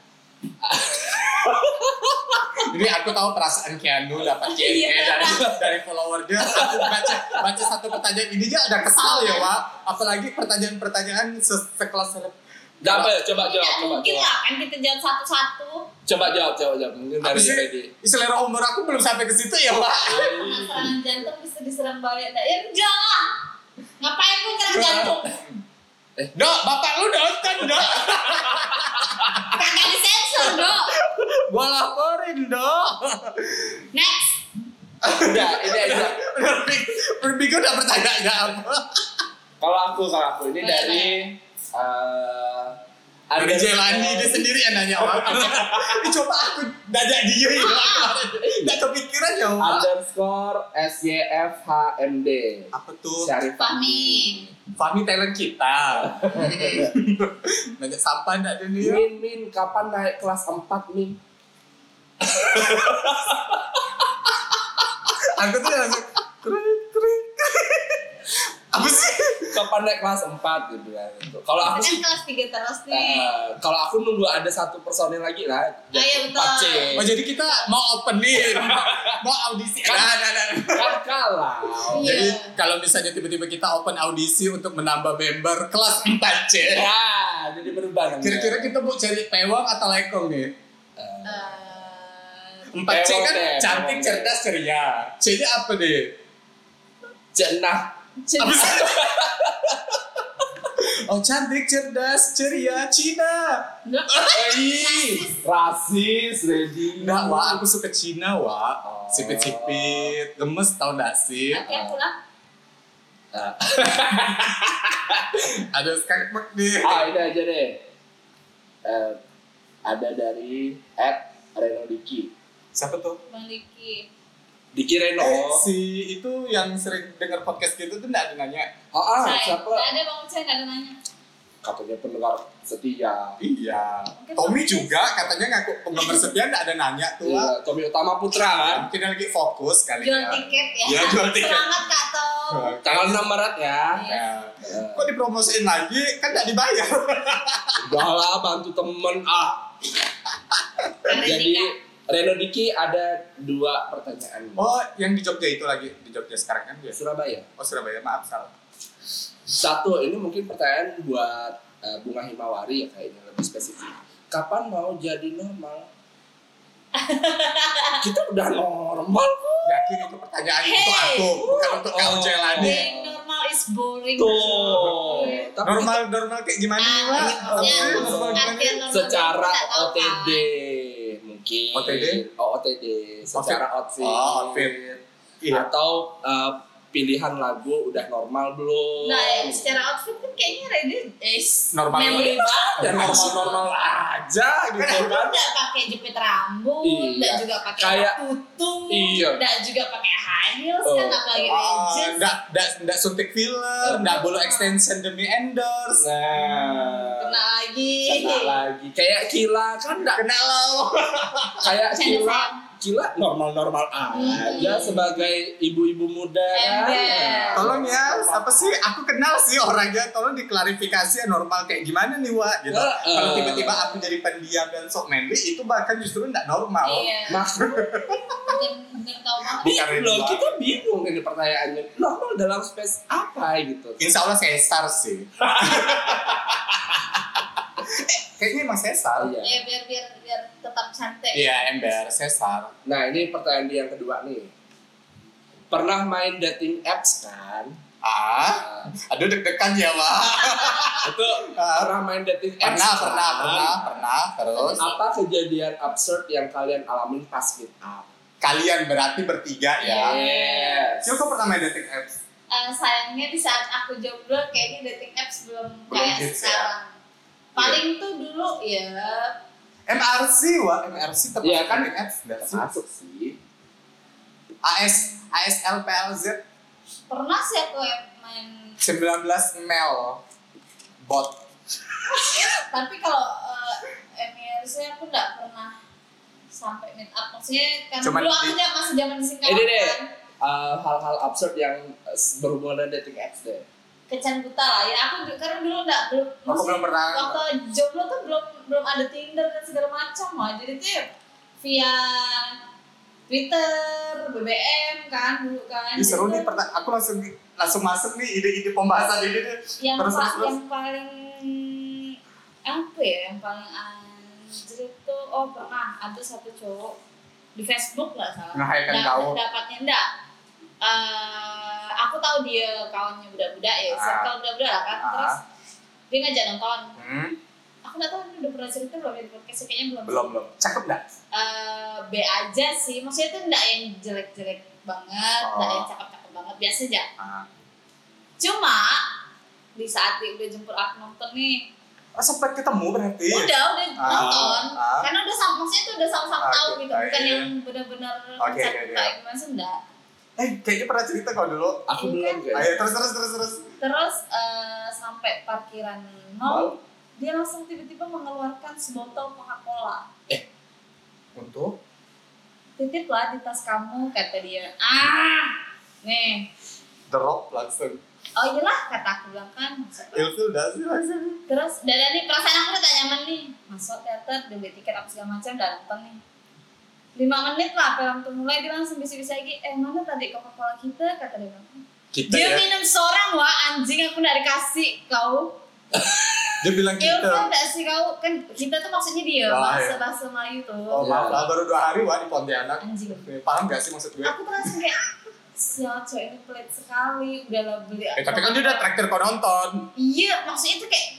[SPEAKER 1] Jadi aku tahu perasaan Keanu dapat
[SPEAKER 3] [laughs]
[SPEAKER 1] KNE
[SPEAKER 2] Iya.
[SPEAKER 1] dari dari follower dia. Aku baca baca satu pertanyaan ini aja udah kesal ya, Wak. Apalagi pertanyaan-pertanyaan se- sekelas seleb.
[SPEAKER 3] dapat coba
[SPEAKER 2] Tidak
[SPEAKER 3] jawab, coba
[SPEAKER 2] Iya, mungkin
[SPEAKER 3] jawab,
[SPEAKER 2] lah kan kita jawab satu-satu
[SPEAKER 3] coba jawab, coba jawab. Mungkin
[SPEAKER 1] Apa
[SPEAKER 3] dari
[SPEAKER 1] sih?
[SPEAKER 3] Freddy.
[SPEAKER 1] Selera umur aku belum sampai ke situ ya, Wak.
[SPEAKER 3] Iya.
[SPEAKER 2] kena serangan jantung bisa diserang balik nggak ya enggak lah ngapain gue nyerang jantung
[SPEAKER 3] Iya.
[SPEAKER 1] Dok, bapak lu nonton,
[SPEAKER 3] [laughs]
[SPEAKER 1] Dok.
[SPEAKER 2] kagak disensor dong
[SPEAKER 1] Gua laporin, Dok.
[SPEAKER 2] next
[SPEAKER 3] Udah, ini
[SPEAKER 1] [laughs]
[SPEAKER 3] aja.
[SPEAKER 1] Berpikir udah pertanyaan nggak apa.
[SPEAKER 3] Kalau aku, kalau aku ini
[SPEAKER 2] Boleh,
[SPEAKER 3] dari eh
[SPEAKER 1] Ada Jelani dia sendiri yang nanya Wak. Ini [laughs] Coba aku nanya dia [laughs] ya. Wak, kemarin. Nggak kepikiran ya, Wak.
[SPEAKER 3] underscore SYFHMD
[SPEAKER 1] Apa tuh?
[SPEAKER 3] Syarif
[SPEAKER 2] Fahmi
[SPEAKER 1] Fahmi talent [laughs] kita. nanya sampah nggak ada dia?
[SPEAKER 3] Min, Min, kapan naik kelas 4, Min?
[SPEAKER 1] Aku tuh langsung kering kering. [laughs] Apa sih?
[SPEAKER 3] Kapan naik kelas 4 gitu kan Gitu. Kalau aku
[SPEAKER 2] kan
[SPEAKER 3] sih
[SPEAKER 2] kelas 3 terus nih
[SPEAKER 3] eh, kalau aku nunggu ada satu personil lagi lah.
[SPEAKER 2] Ah, iya, betul.
[SPEAKER 3] 4C.
[SPEAKER 1] Oh jadi kita mau [laughs] opening, mau, mau audisi. Nah, nah, nah.
[SPEAKER 3] Kan kalah.
[SPEAKER 2] Iya.
[SPEAKER 1] Jadi kalau misalnya tiba-tiba kita open audisi untuk menambah member kelas 4C.
[SPEAKER 2] Iya.
[SPEAKER 3] Ya, jadi berubah.
[SPEAKER 1] Kira-kira kita mau cari pewang atau lekong nih?
[SPEAKER 3] Eh,
[SPEAKER 1] 4C
[SPEAKER 2] Eh,
[SPEAKER 3] Pewang
[SPEAKER 1] kan
[SPEAKER 3] deh,
[SPEAKER 1] cantik,
[SPEAKER 3] pewang.
[SPEAKER 1] cerdas, ceria. C-nya apa deh?
[SPEAKER 3] jenah.
[SPEAKER 1] Apa sih? oh cantik, cerdas, ceria, Cina.
[SPEAKER 2] enggak
[SPEAKER 1] Oi.
[SPEAKER 3] Rasis, Reddy.
[SPEAKER 1] Enggak, Wak. Aku suka Cina, Wak.
[SPEAKER 3] Oh.
[SPEAKER 1] Sipit-sipit. Gemes tau gak sih?
[SPEAKER 2] Oke, aku lah.
[SPEAKER 3] Eh,
[SPEAKER 1] Ada skakbek nih.
[SPEAKER 3] ah, ini aja deh. Eh, ada dari at Reno Diki.
[SPEAKER 1] Siapa tuh?
[SPEAKER 2] Bang Diki.
[SPEAKER 3] Diki Reno.
[SPEAKER 1] Eh, si itu yang sering denger podcast gitu tuh gak ada nanya.
[SPEAKER 3] Oh, ah,
[SPEAKER 2] Saya,
[SPEAKER 3] siapa?
[SPEAKER 2] nggak ada Bang Ucai, nggak ada nanya.
[SPEAKER 3] katanya pendengar setia.
[SPEAKER 1] Iya.
[SPEAKER 2] Mungkin
[SPEAKER 1] Tommy
[SPEAKER 2] podcast.
[SPEAKER 1] juga katanya ngaku penggemar setia gak ada nanya tuh, Wak.
[SPEAKER 3] Iya, Tommy Utama Putra kan.
[SPEAKER 1] Mungkin dia lagi fokus kali
[SPEAKER 2] Jual
[SPEAKER 1] ya.
[SPEAKER 2] tiket ya.
[SPEAKER 1] Iya, jual tiket.
[SPEAKER 2] Selamat Kak Tom.
[SPEAKER 3] Tanggal 6 Maret ya.
[SPEAKER 2] Iya.
[SPEAKER 1] Nah,
[SPEAKER 3] Eh,
[SPEAKER 1] kok dipromosiin lagi kan gak dibayar
[SPEAKER 3] Udah lah bantu temen ah.
[SPEAKER 2] Hari
[SPEAKER 3] Jadi
[SPEAKER 2] Dika.
[SPEAKER 3] Reno Diki ada dua pertanyaan.
[SPEAKER 1] oh yang di Jogja itu lagi di Jogja sekarang kan dia
[SPEAKER 3] Surabaya.
[SPEAKER 1] oh Surabaya maaf salah
[SPEAKER 3] Satu ini mungkin pertanyaan buat eh, Bunga Himawari ya kayaknya lebih spesifik. Kapan mau jadi
[SPEAKER 2] [laughs]
[SPEAKER 3] normal? Kita udah normal kok.
[SPEAKER 1] yakin Ya, itu pertanyaan
[SPEAKER 2] Hey! uh,
[SPEAKER 1] untuk aku bukan untuk kau
[SPEAKER 3] Oh.
[SPEAKER 1] Jelani
[SPEAKER 2] Being normal is boring.
[SPEAKER 3] Tuh. Tapi
[SPEAKER 1] normal normal kayak gimana nih
[SPEAKER 2] Ah,
[SPEAKER 1] Wak?
[SPEAKER 2] maksudnya
[SPEAKER 1] Apa sih,
[SPEAKER 3] maksud
[SPEAKER 1] normal gimana?
[SPEAKER 2] artian normal
[SPEAKER 3] secara
[SPEAKER 2] kita tahu, kan?
[SPEAKER 3] OTD mungkin
[SPEAKER 1] OTD?
[SPEAKER 3] oh OTD secara outfit,
[SPEAKER 1] Oh, outfit. iya
[SPEAKER 3] atau eh, pilihan lagu udah normal belum
[SPEAKER 2] Nah, ya, secara outfit kan kayaknya Reddy is
[SPEAKER 1] Normal.
[SPEAKER 2] memorable
[SPEAKER 3] dan normal normal aja gitu
[SPEAKER 2] Kan
[SPEAKER 3] kan
[SPEAKER 2] nggak pakai jepit rambut,
[SPEAKER 3] Iya.
[SPEAKER 2] nggak juga pakai
[SPEAKER 3] Kayak-
[SPEAKER 2] kutu,
[SPEAKER 3] Iya.
[SPEAKER 2] nggak juga pakai high heels kan,
[SPEAKER 3] Oh.
[SPEAKER 2] apalagi
[SPEAKER 1] Oh,
[SPEAKER 2] wedges.
[SPEAKER 1] ndak ndak ndak suntik filler, ndak bolu extension demi endorse.
[SPEAKER 2] Kena
[SPEAKER 3] nah
[SPEAKER 2] lagi.
[SPEAKER 3] kena lagi kayak kila kan nggak
[SPEAKER 1] Kena lo.
[SPEAKER 2] Bercanda,
[SPEAKER 3] kayak kila
[SPEAKER 2] sayang.
[SPEAKER 3] kila normal normal aja
[SPEAKER 2] Hmm.
[SPEAKER 3] sebagai ibu-ibu muda kan
[SPEAKER 2] Ember.
[SPEAKER 1] Tolong ya, apa sih? Aku kenal sih orangnya. Tolong diklarifikasi ya normal kayak gimana nih, Wak? Gitu.
[SPEAKER 3] Eh, eh.
[SPEAKER 1] Kalau tiba-tiba aku jadi pendiam dan sok manly, itu bahkan justru ndak normal.
[SPEAKER 2] Iya.
[SPEAKER 3] Maksud-
[SPEAKER 2] Bener- bener tahu banget.
[SPEAKER 1] Bukan
[SPEAKER 3] loh
[SPEAKER 1] Ridwan.
[SPEAKER 3] kita bingung ini pertanyaannya normal dalam space apa gitu
[SPEAKER 1] Insya Allah Caesar sih. eh, kayaknya emang Caesar.
[SPEAKER 3] Iya.
[SPEAKER 2] Ya biar biar biar tetap cantik.
[SPEAKER 1] Iya, ember Caesar.
[SPEAKER 3] Nah ini pertanyaan dia yang kedua nih. Pernah main dating apps kan?
[SPEAKER 1] Ah,
[SPEAKER 3] Nah,
[SPEAKER 1] aduh deg-degan ya, Wak.
[SPEAKER 3] itu
[SPEAKER 1] Ah,
[SPEAKER 3] pernah main dating apps?
[SPEAKER 1] pernah,
[SPEAKER 3] kan?
[SPEAKER 1] pernah, pernah, pernah. Terus
[SPEAKER 3] Apa kejadian absurd yang kalian alamin pas meet up?
[SPEAKER 1] kalian berarti bertiga ya.
[SPEAKER 3] Yes.
[SPEAKER 1] Siapa pernah main dating apps?
[SPEAKER 2] Eh, sayangnya di saat aku jomblo kayaknya dating apps belum,
[SPEAKER 1] Belum
[SPEAKER 2] kayak
[SPEAKER 1] hits, ya.
[SPEAKER 2] sekarang. Paling tuh dulu ya
[SPEAKER 1] MRC, Wak. MRC termasuk
[SPEAKER 3] Iya, kan?
[SPEAKER 1] dating apps. nggak sih?
[SPEAKER 3] Masuk sih.
[SPEAKER 1] AS ASL PLZ
[SPEAKER 2] pernah sih aku main
[SPEAKER 1] 19 Mel bot
[SPEAKER 2] tapi kalau uh, MIRC aku nggak pernah sampai meet up maksudnya kan
[SPEAKER 1] Cuman
[SPEAKER 2] dulu aku
[SPEAKER 1] di-
[SPEAKER 2] nggak masih zaman singkat
[SPEAKER 3] Ini deh.
[SPEAKER 2] kan
[SPEAKER 3] Eh, hal-hal absurd yang eh, berhubungan dengan dating apps deh.
[SPEAKER 2] kecan buta lah ya aku du- karena dulu nggak belum
[SPEAKER 1] Aku belum pernah.
[SPEAKER 2] waktu jomblo tuh belum belum ada Tinder dan segala macam lah jadi tuh ya via Twitter BBM kan dulu kan
[SPEAKER 1] Ih, seru
[SPEAKER 2] Jadi
[SPEAKER 1] nih
[SPEAKER 2] tuh
[SPEAKER 1] pertanyaan. Aku langsung langsung masuk nih ide-ide pembahasan ini nih.
[SPEAKER 2] yang
[SPEAKER 1] Terus,
[SPEAKER 2] pa-
[SPEAKER 1] terus, terus.
[SPEAKER 2] yang paling apa ya yang paling anjir itu oh pernah ada satu cowok di Facebook lah salah
[SPEAKER 1] Nge-hide-kan
[SPEAKER 2] Nah,
[SPEAKER 1] kau.
[SPEAKER 2] dapatnya enggak Eh, aku tahu dia kawannya budak-budak
[SPEAKER 1] Ah.
[SPEAKER 2] ya circle budak-budak lah kan
[SPEAKER 1] Ah.
[SPEAKER 2] terus dia ngajak nonton
[SPEAKER 1] Hmm,
[SPEAKER 2] aku nggak tahu ini udah pernah cerita belum ya di podcast kayaknya belum
[SPEAKER 1] belum belum. Cakep dah.
[SPEAKER 2] Eh, B aja sih maksudnya itu enggak yang jelek-jelek banget enggak
[SPEAKER 1] Oh.
[SPEAKER 2] yang cakep-cakep banget biasa aja
[SPEAKER 1] Ah.
[SPEAKER 2] cuma di saat dia udah jemput aku nonton nih
[SPEAKER 1] Oh, sempat ketemu berarti.
[SPEAKER 2] udah udah
[SPEAKER 1] Ah,
[SPEAKER 2] nonton
[SPEAKER 1] ah.
[SPEAKER 2] karena udah sama maksudnya itu udah sama-sama
[SPEAKER 1] Ah,
[SPEAKER 2] tahu
[SPEAKER 1] oke,
[SPEAKER 2] gitu
[SPEAKER 1] ah,
[SPEAKER 2] bukan
[SPEAKER 1] iya.
[SPEAKER 2] yang benar-benar
[SPEAKER 1] Oke,
[SPEAKER 2] konser
[SPEAKER 1] oke,
[SPEAKER 2] buka
[SPEAKER 1] iya.
[SPEAKER 2] gimana sih enggak
[SPEAKER 1] Eh, kayaknya pernah cerita kau dulu.
[SPEAKER 3] Aku
[SPEAKER 2] Iya
[SPEAKER 3] belum guys.
[SPEAKER 1] kan? Ayo terus terus terus terus.
[SPEAKER 2] terus eh, sampai parkiran
[SPEAKER 3] Mal.
[SPEAKER 2] mall dia langsung tiba-tiba mengeluarkan sebotol Coca Cola
[SPEAKER 1] Untuk
[SPEAKER 2] titip lah di tas kamu kata dia ah nih
[SPEAKER 1] drop langsung.
[SPEAKER 2] oh iyalah kata aku bilang kan masuk.
[SPEAKER 1] Ilfil dah sih langsung.
[SPEAKER 2] terus dan ini perasaan aku udah tak nyaman nih masuk teater udah beli tiket apa segala macam dan nonton nih lima menit lah film tuh mulai dia langsung bisa-bisa lagi eh mana tadi coca cola kita kata dia bilang.
[SPEAKER 1] Kita ya?
[SPEAKER 2] dia
[SPEAKER 3] ya?
[SPEAKER 2] minum seorang wah anjing aku nggak dikasih kau
[SPEAKER 1] Dia bilang
[SPEAKER 2] Ilfil
[SPEAKER 1] kita.
[SPEAKER 2] nggak sih kau kan kita tuh maksudnya dia
[SPEAKER 1] Oh,
[SPEAKER 2] bahasa
[SPEAKER 1] iya.
[SPEAKER 2] bahasa Melayu tuh
[SPEAKER 1] Oh
[SPEAKER 3] Iya.
[SPEAKER 1] maaf lah, baru dua hari wah di Pontianak.
[SPEAKER 2] anjing
[SPEAKER 1] Paham gak sih maksud gue?
[SPEAKER 2] aku tuh langsung kayak sial cowok ini pelit sekali udah lah beli
[SPEAKER 1] Eh, tapi kan dia udah traktir kau nonton.
[SPEAKER 2] iya maksudnya itu kayak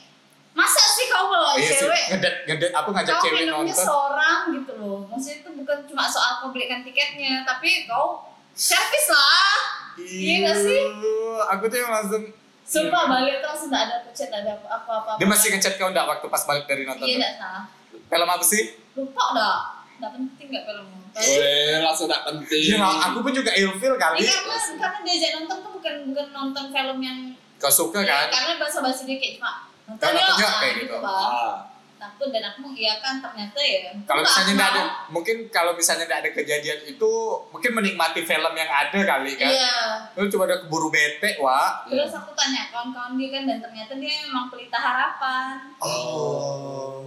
[SPEAKER 2] masa sih kau bawa Oh,
[SPEAKER 1] Iya
[SPEAKER 2] cewek
[SPEAKER 1] ngedet ngedet. Aku ngajak
[SPEAKER 2] kau
[SPEAKER 1] cewek
[SPEAKER 2] minumnya
[SPEAKER 1] nonton.
[SPEAKER 2] seorang gitu loh maksudnya itu bukan cuma soal kau belikan tiketnya tapi kau servis lah Iya nggak sih?
[SPEAKER 1] Iyuh, Aku tuh yang langsung.
[SPEAKER 2] sumpah balik tuh langsung nggak ada pecet nggak ada apa-apa
[SPEAKER 1] Iya. Dia masih ngechat kau enggak waktu pas balik dari nonton.
[SPEAKER 2] iya nggak salah
[SPEAKER 1] Film apa sih?
[SPEAKER 2] lupa udah nggak penting nggak film
[SPEAKER 1] Eh,
[SPEAKER 2] Iya, nonton
[SPEAKER 3] Weh, langsung tak penting.
[SPEAKER 1] Iya, aku pun juga ilfil
[SPEAKER 2] Eh,
[SPEAKER 1] kali.
[SPEAKER 2] karena karena diajak nonton tuh bukan bukan nonton film yang
[SPEAKER 1] Kau suka
[SPEAKER 2] ya,
[SPEAKER 1] kan?
[SPEAKER 2] karena bahasa bahasa dia kayak cuma nonton
[SPEAKER 1] Karena
[SPEAKER 2] yuk
[SPEAKER 1] nonton yuk,
[SPEAKER 2] ah,
[SPEAKER 1] kayak gitu.
[SPEAKER 2] Bang.
[SPEAKER 3] Ah,
[SPEAKER 2] takut dan aku mengiyakan ternyata ya
[SPEAKER 1] Kalau
[SPEAKER 2] Enggak,
[SPEAKER 1] misalnya tidak ada, kan?
[SPEAKER 2] mau.
[SPEAKER 1] mungkin kalau misalnya tidak ada kejadian itu, mungkin menikmati film yang ada kali kan.
[SPEAKER 2] iya
[SPEAKER 1] Lu cuma udah keburu bete, Wak.
[SPEAKER 2] terus aku tanya kawan-kawan dia kan dan ternyata dia memang pelita harapan
[SPEAKER 1] Oh.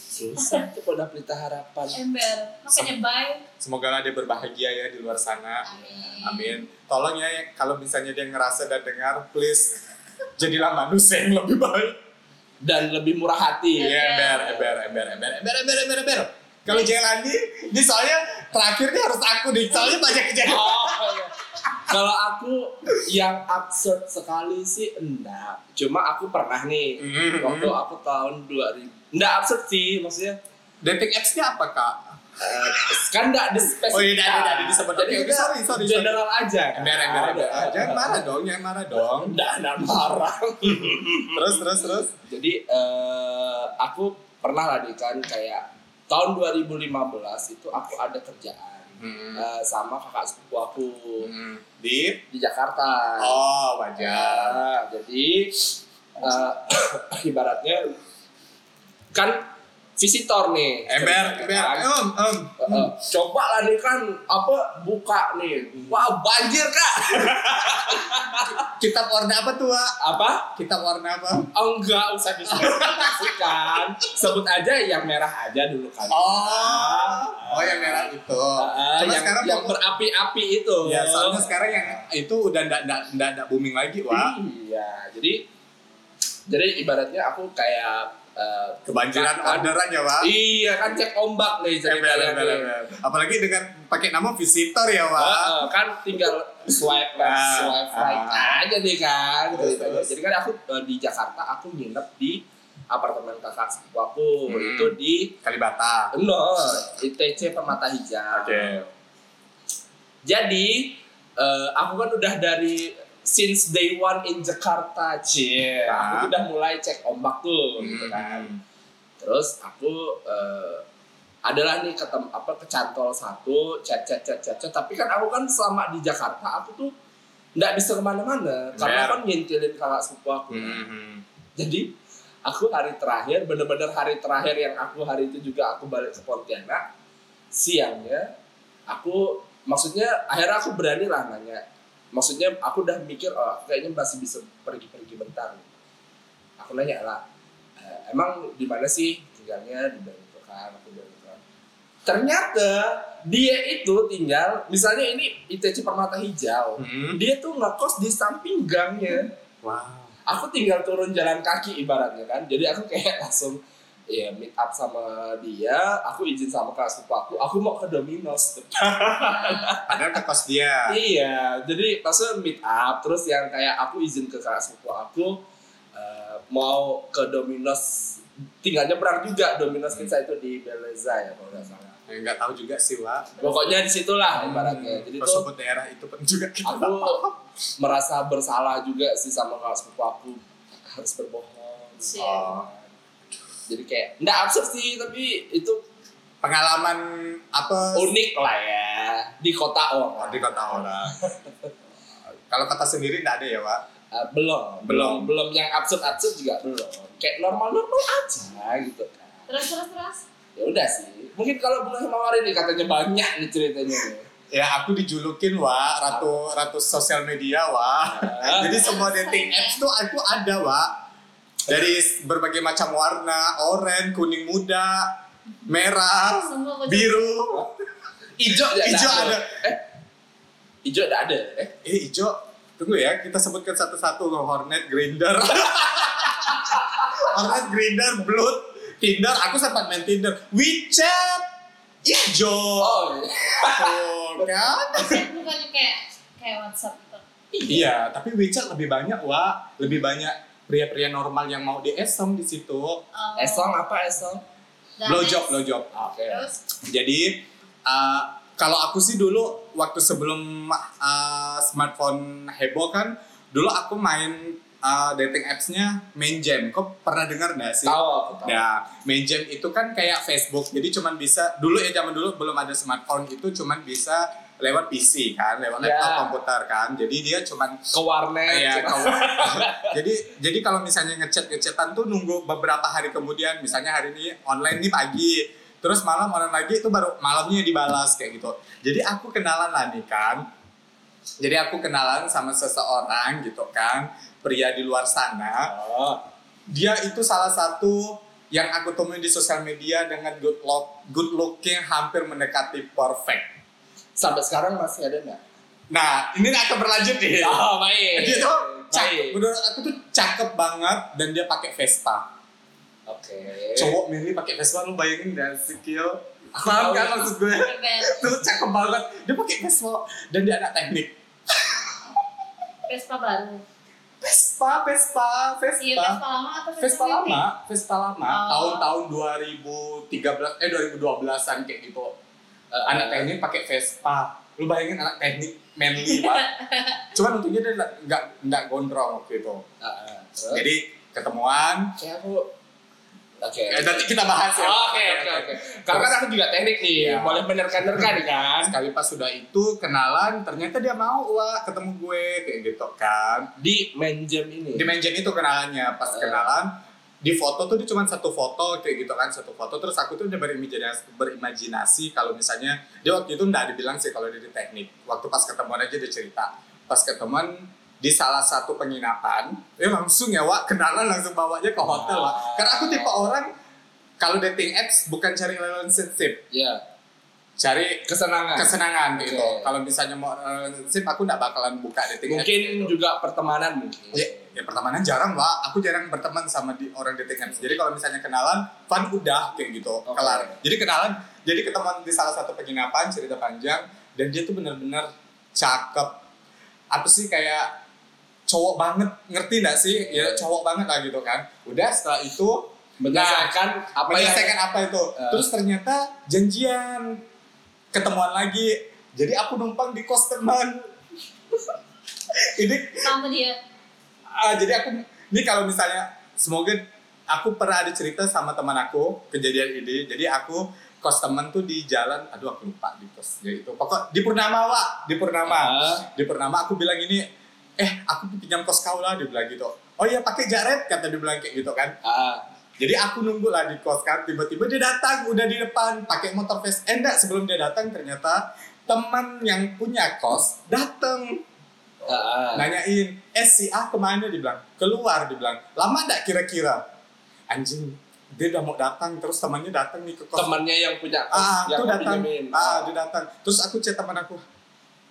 [SPEAKER 3] susah tuh kalau udah pelita harapan.
[SPEAKER 2] ember makanya bye
[SPEAKER 1] Semoga lah dia berbahagia ya di luar sana.
[SPEAKER 2] Amin.
[SPEAKER 1] Amin. Tolong ya kalau misalnya dia ngerasa dan dengar, please jadilah manusia yang lebih baik.
[SPEAKER 3] Dan lebih murah hati.
[SPEAKER 1] Iya, ember, ember, ember, ember, ember, ember, ember, ember. Kalau jangan Andi, ini soalnya terakhir nih harus aku nih. Soalnya banyak kejadian.
[SPEAKER 3] Oh, iya. Kalau aku yang absurd sekali sih enggak. Cuma aku pernah nih
[SPEAKER 1] Mm,
[SPEAKER 3] waktu
[SPEAKER 1] mm.
[SPEAKER 3] aku tahun 2000. Enggak absurd sih maksudnya.
[SPEAKER 1] Dating apps-nya apa, Kak?
[SPEAKER 3] eh, kan enggak di spesifik.
[SPEAKER 1] Oh, iya, nggak ada, nggak ada disebut. Oke,
[SPEAKER 3] Jadi
[SPEAKER 1] oke,
[SPEAKER 3] udah
[SPEAKER 1] sorry, sorry, sorry.
[SPEAKER 3] General aja. kan?
[SPEAKER 1] Ember, ember, ember.
[SPEAKER 3] Ada.
[SPEAKER 1] Jangan marah dong, jangan marah dong.
[SPEAKER 3] Enggak, enggak marah.
[SPEAKER 1] Terus, terus, terus.
[SPEAKER 3] Jadi eh, aku pernah lah nih kan kayak tahun 2015 itu aku ada kerjaan eh, sama kakak sepupu aku
[SPEAKER 1] Hmm. Di?
[SPEAKER 3] di Jakarta.
[SPEAKER 1] Oh,
[SPEAKER 3] Ya,
[SPEAKER 1] wajar.
[SPEAKER 3] jadi eh, [coughs] ibaratnya kan visitor nih.
[SPEAKER 1] Ember, ember.
[SPEAKER 3] Kan?
[SPEAKER 1] Em, em.
[SPEAKER 3] Eh, eh, coba lah nih kan apa buka nih. Wah, banjir Kak.
[SPEAKER 1] Kitab warna apa tuh, Wak?
[SPEAKER 3] Apa?
[SPEAKER 1] Kitab warna apa?
[SPEAKER 3] Enggak usah disebutkan. Sebut aja yang merah aja dulu kan.
[SPEAKER 1] Oh, oh yang merah itu.
[SPEAKER 3] Ah,
[SPEAKER 1] Cuma
[SPEAKER 3] yang,
[SPEAKER 1] sekarang
[SPEAKER 3] yang
[SPEAKER 1] fokus-
[SPEAKER 3] berapi-api itu.
[SPEAKER 1] Ya, soalnya sekarang yang itu udah ndak ndak ndak ndak booming lagi, Wak.
[SPEAKER 3] Iya, jadi jadi ibaratnya aku kayak eh,
[SPEAKER 1] Kebanjiran Iya,
[SPEAKER 3] kan-
[SPEAKER 1] orderan ya, Wak.
[SPEAKER 3] Iya kan cek ombak nih
[SPEAKER 1] Ember,
[SPEAKER 3] ceritanya
[SPEAKER 1] ember,
[SPEAKER 3] nih.
[SPEAKER 1] ember. Apalagi dengan pakai nama visitor ya, Wak.
[SPEAKER 3] Heeh, kan tinggal swipe left,
[SPEAKER 1] Ah,
[SPEAKER 3] swipe right
[SPEAKER 1] ah.
[SPEAKER 3] aja nih kan.
[SPEAKER 1] Terus,
[SPEAKER 3] ceritanya.
[SPEAKER 1] terus.
[SPEAKER 3] Jadi kan aku eh, di Jakarta aku nginep di apartemen kakak sepupu aku
[SPEAKER 1] Hmm.
[SPEAKER 3] itu di
[SPEAKER 1] Kalibata.
[SPEAKER 3] no ITC Permata Hijau.
[SPEAKER 1] Oke.
[SPEAKER 3] Jadi eh, aku kan udah dari since day one in Jakarta, cie.
[SPEAKER 1] Ah.
[SPEAKER 3] Aku udah mulai cek ombak tuh, gitu kan.
[SPEAKER 1] Hmm.
[SPEAKER 3] Terus aku eh, adalah nih ketem apa kecantol satu, chat chat chat chat chat. Tapi kan aku kan selama di Jakarta aku tuh nggak bisa kemana-mana
[SPEAKER 1] Bener.
[SPEAKER 3] karena kan ngintilin kakak sepupu aku.
[SPEAKER 1] Hmm.
[SPEAKER 3] jadi aku hari terakhir bener-bener hari terakhir yang aku hari itu juga aku balik ke Pontianak siangnya aku maksudnya akhirnya aku berani lah nanya maksudnya aku udah mikir oh aku kayaknya masih bisa pergi-pergi bentar aku nanya lah "Eh, emang di mana sih tinggalnya di Bandung kan aku bilang gitu kan ternyata dia itu tinggal misalnya ini ITC Permata Hijau
[SPEAKER 1] Mm-mm.
[SPEAKER 3] dia tuh ngekos di samping gangnya
[SPEAKER 1] Wow.
[SPEAKER 3] aku tinggal turun jalan kaki ibaratnya kan jadi aku kayak [laughs] langsung ya meet up sama dia aku izin sama kelas sepupu aku aku mau ke Domino's tuh.
[SPEAKER 1] Padahal ke kos dia.
[SPEAKER 3] iya jadi maksudnya meet up terus yang kayak aku izin ke kelas sepupu aku eh, mau ke Domino's tinggal nyebrang juga Domino's kita itu di Beleza ya kalau nggak salah
[SPEAKER 1] Enggak tahu juga sih, Wak. Ah,
[SPEAKER 3] pokoknya disitulah
[SPEAKER 1] Hmm.
[SPEAKER 3] ibaratnya jadi
[SPEAKER 1] Kau
[SPEAKER 3] tuh
[SPEAKER 1] sebut daerah itu pun juga kita
[SPEAKER 3] aku merasa bersalah juga sih sama kelas sepupu aku harus berbohong
[SPEAKER 2] Sih.
[SPEAKER 1] Oh.
[SPEAKER 3] jadi kayak nggak absurd sih tapi itu
[SPEAKER 1] Pengalaman apa
[SPEAKER 3] unik lah ya di kota
[SPEAKER 1] Oh,
[SPEAKER 3] orang
[SPEAKER 1] di kota orang. Kalau kota sendiri enggak ada ya, Wak?
[SPEAKER 3] Eh, belum belum belum yang absurd absurd juga belum kayak normal normal aja gitu kan
[SPEAKER 2] Terus terus terus.
[SPEAKER 3] ya udah sih mungkin kalau bulan Mawar ini katanya banyak nih ceritanya nih.
[SPEAKER 1] Ya aku dijulukin Wak, ratu ratu sosial media Wak.
[SPEAKER 3] Ah.
[SPEAKER 1] Jadi semua dating apps tuh aku ada Wak. Dari berbagai macam warna, oranye, kuning muda, merah,
[SPEAKER 2] Semua aku
[SPEAKER 1] biru.
[SPEAKER 3] ijo nggak
[SPEAKER 1] Ijo ada.
[SPEAKER 3] eh ijo nggak ada eh
[SPEAKER 1] Eh ijo, tunggu ya kita sebutkan satu-satu loh Hornet, Grinder. Hornet, Grinder, Blood, Tinder. Aku sempat main Tinder. WeChat, ijo.
[SPEAKER 3] oh iya.
[SPEAKER 1] Tuh, kan?
[SPEAKER 2] chat bukannya kayak kayak WhatsApp gitu.
[SPEAKER 1] Iya, tapi WeChat lebih banyak, Wak. Lebih banyak pria-pria normal yang mau di SM di situ.
[SPEAKER 2] Oh,
[SPEAKER 3] esong apa esong
[SPEAKER 2] dan
[SPEAKER 1] Blowjob,
[SPEAKER 2] next.
[SPEAKER 1] blowjob.
[SPEAKER 3] oke
[SPEAKER 2] Terus
[SPEAKER 1] Jadi, uh, kalau aku sih dulu waktu sebelum uh, smartphone heboh kan, dulu aku main uh, dating apps-nya Mainjam. Kok pernah dengar nggak sih?
[SPEAKER 3] tahu aku tahu
[SPEAKER 1] Nah, Mainjam itu kan kayak Facebook, jadi cuman bisa dulu ya zaman dulu belum ada smartphone itu cuman bisa lewat PC kan, lewat
[SPEAKER 3] Ya.
[SPEAKER 1] laptop komputer kan. Jadi dia cuman
[SPEAKER 3] ke warnet
[SPEAKER 1] Iya,
[SPEAKER 3] gitu. [laughs]
[SPEAKER 1] kalau- jadi jadi kalau misalnya ngechat ngechatan tuh nunggu beberapa hari kemudian, misalnya hari ini online nih pagi, terus malam online lagi itu baru malamnya dibalas kayak gitu. Jadi aku kenalan lah nih kan. Jadi aku kenalan sama seseorang gitu kan, pria di luar sana.
[SPEAKER 3] Oh.
[SPEAKER 1] Dia itu salah satu yang aku temuin di sosial media dengan good look, good looking hampir mendekati perfect.
[SPEAKER 3] sampai sekarang masih ada nggak
[SPEAKER 1] Nah, ini akan berlanjut nih.
[SPEAKER 3] oh baik
[SPEAKER 1] dia tuh cakep,
[SPEAKER 3] baik oke
[SPEAKER 1] menurut aku tuh cakep banget dan dia pakai Vespa. Cowok milih pakai Vespa lu bayangin gak sih Kio? Paham kan maksud gue?
[SPEAKER 2] berbeda.
[SPEAKER 1] Tuh cakep banget. Dia pakai Vespa dan dia anak teknik.
[SPEAKER 2] Vespa baru.
[SPEAKER 1] Vespa, Vespa, Vespa.
[SPEAKER 2] Iya Vespa lama atau
[SPEAKER 1] Vespa
[SPEAKER 2] lama?
[SPEAKER 1] lama, Vespa lama,
[SPEAKER 2] Oh.
[SPEAKER 1] tahun-tahun 2013 eh 2012-an kayak gitu. Eh, anak teknik pakai Vespa. Lu bayangin anak teknik manly
[SPEAKER 2] [laughs]
[SPEAKER 1] banget. Cuman untungnya dia nggak nggak gondrong waktu itu.
[SPEAKER 3] Ah, ah. Terus?
[SPEAKER 1] Jadi ketemuan,
[SPEAKER 3] kayak aku oke
[SPEAKER 1] Eh, nanti kita bahas ya.
[SPEAKER 3] Oke, oke, oke. Karena kan aku juga teknik nih,
[SPEAKER 1] Iya.
[SPEAKER 3] boleh bener-bener kan?
[SPEAKER 1] Sekali pas sudah itu kenalan, ternyata dia mau wah ketemu gue kayak gitu kan.
[SPEAKER 3] Di main jam ini.
[SPEAKER 1] Di mention itu kenalannya, pas
[SPEAKER 3] Eh.
[SPEAKER 1] kenalan di foto tuh dia cuma satu foto kayak gitu kan satu foto terus aku tuh udah berimajinasi, berimajinasi kalau misalnya dia waktu itu nggak dibilang sih kalau dia di teknik waktu pas ketemuan aja dia cerita pas ketemuan di salah satu penginapan ya langsung ya wak kenalan langsung bawanya ke hotel lah karena aku tipe orang kalau dating apps bukan cari relationship
[SPEAKER 3] Iya,
[SPEAKER 1] cari
[SPEAKER 3] kesenangan.
[SPEAKER 1] kesenangan
[SPEAKER 3] Oke.
[SPEAKER 1] gitu. Kalau misalnya mau relationship aku nggak bakalan buka dating apps.
[SPEAKER 3] Mungkin juga pertemanan mungkin.
[SPEAKER 1] Ya, ya pertemanan jarang lah. Aku jarang berteman sama di orang dating apps. Jadi kalau misalnya kenalan, fun udah kayak gitu,
[SPEAKER 3] Oke.
[SPEAKER 1] kelar. Jadi kenalan, jadi ketemuan di salah satu penginapan cerita panjang dan dia tuh bener-bener cakep. Apa sih kayak cowok banget ngerti nggak sih?
[SPEAKER 3] Iya.
[SPEAKER 1] Ya cowok banget lah gitu kan. Udah setelah itu
[SPEAKER 3] Menyelesaikan apa yang
[SPEAKER 1] Nah, menyelesaikan apa itu.
[SPEAKER 3] Eh.
[SPEAKER 1] Terus ternyata janjian ketemuan lagi. Jadi aku numpang di kos teman. [laughs] ini
[SPEAKER 2] Sama dia.
[SPEAKER 1] ah, jadi aku ini kalau misalnya semoga aku pernah ada cerita sama teman aku kejadian ini. Jadi aku kos teman tuh di jalan aduh aku lupa di kos jadi itu pokok di Purnama Wak, di Purnama
[SPEAKER 3] Ah.
[SPEAKER 1] di Purnama aku bilang ini eh aku pinjam kos kau lah dia bilang gitu oh iya pakai jaret kata dia bilang kayak gitu kan
[SPEAKER 3] Ah,
[SPEAKER 1] jadi aku nunggu lah di kos kan tiba-tiba dia datang udah di depan pakai motor face eh enggak sebelum dia datang ternyata teman yang punya kos datang
[SPEAKER 3] ah, ah.
[SPEAKER 1] nanyain eh si A kemana dibilang keluar dibilang lama enggak kira-kira anjing dia udah mau datang terus temannya datang nih ke kos
[SPEAKER 3] temannya yang punya kos
[SPEAKER 1] ah
[SPEAKER 3] Iya, yang
[SPEAKER 1] tuh
[SPEAKER 3] mau
[SPEAKER 1] datang
[SPEAKER 3] pinjemin.
[SPEAKER 1] ah dia datang terus aku chat teman aku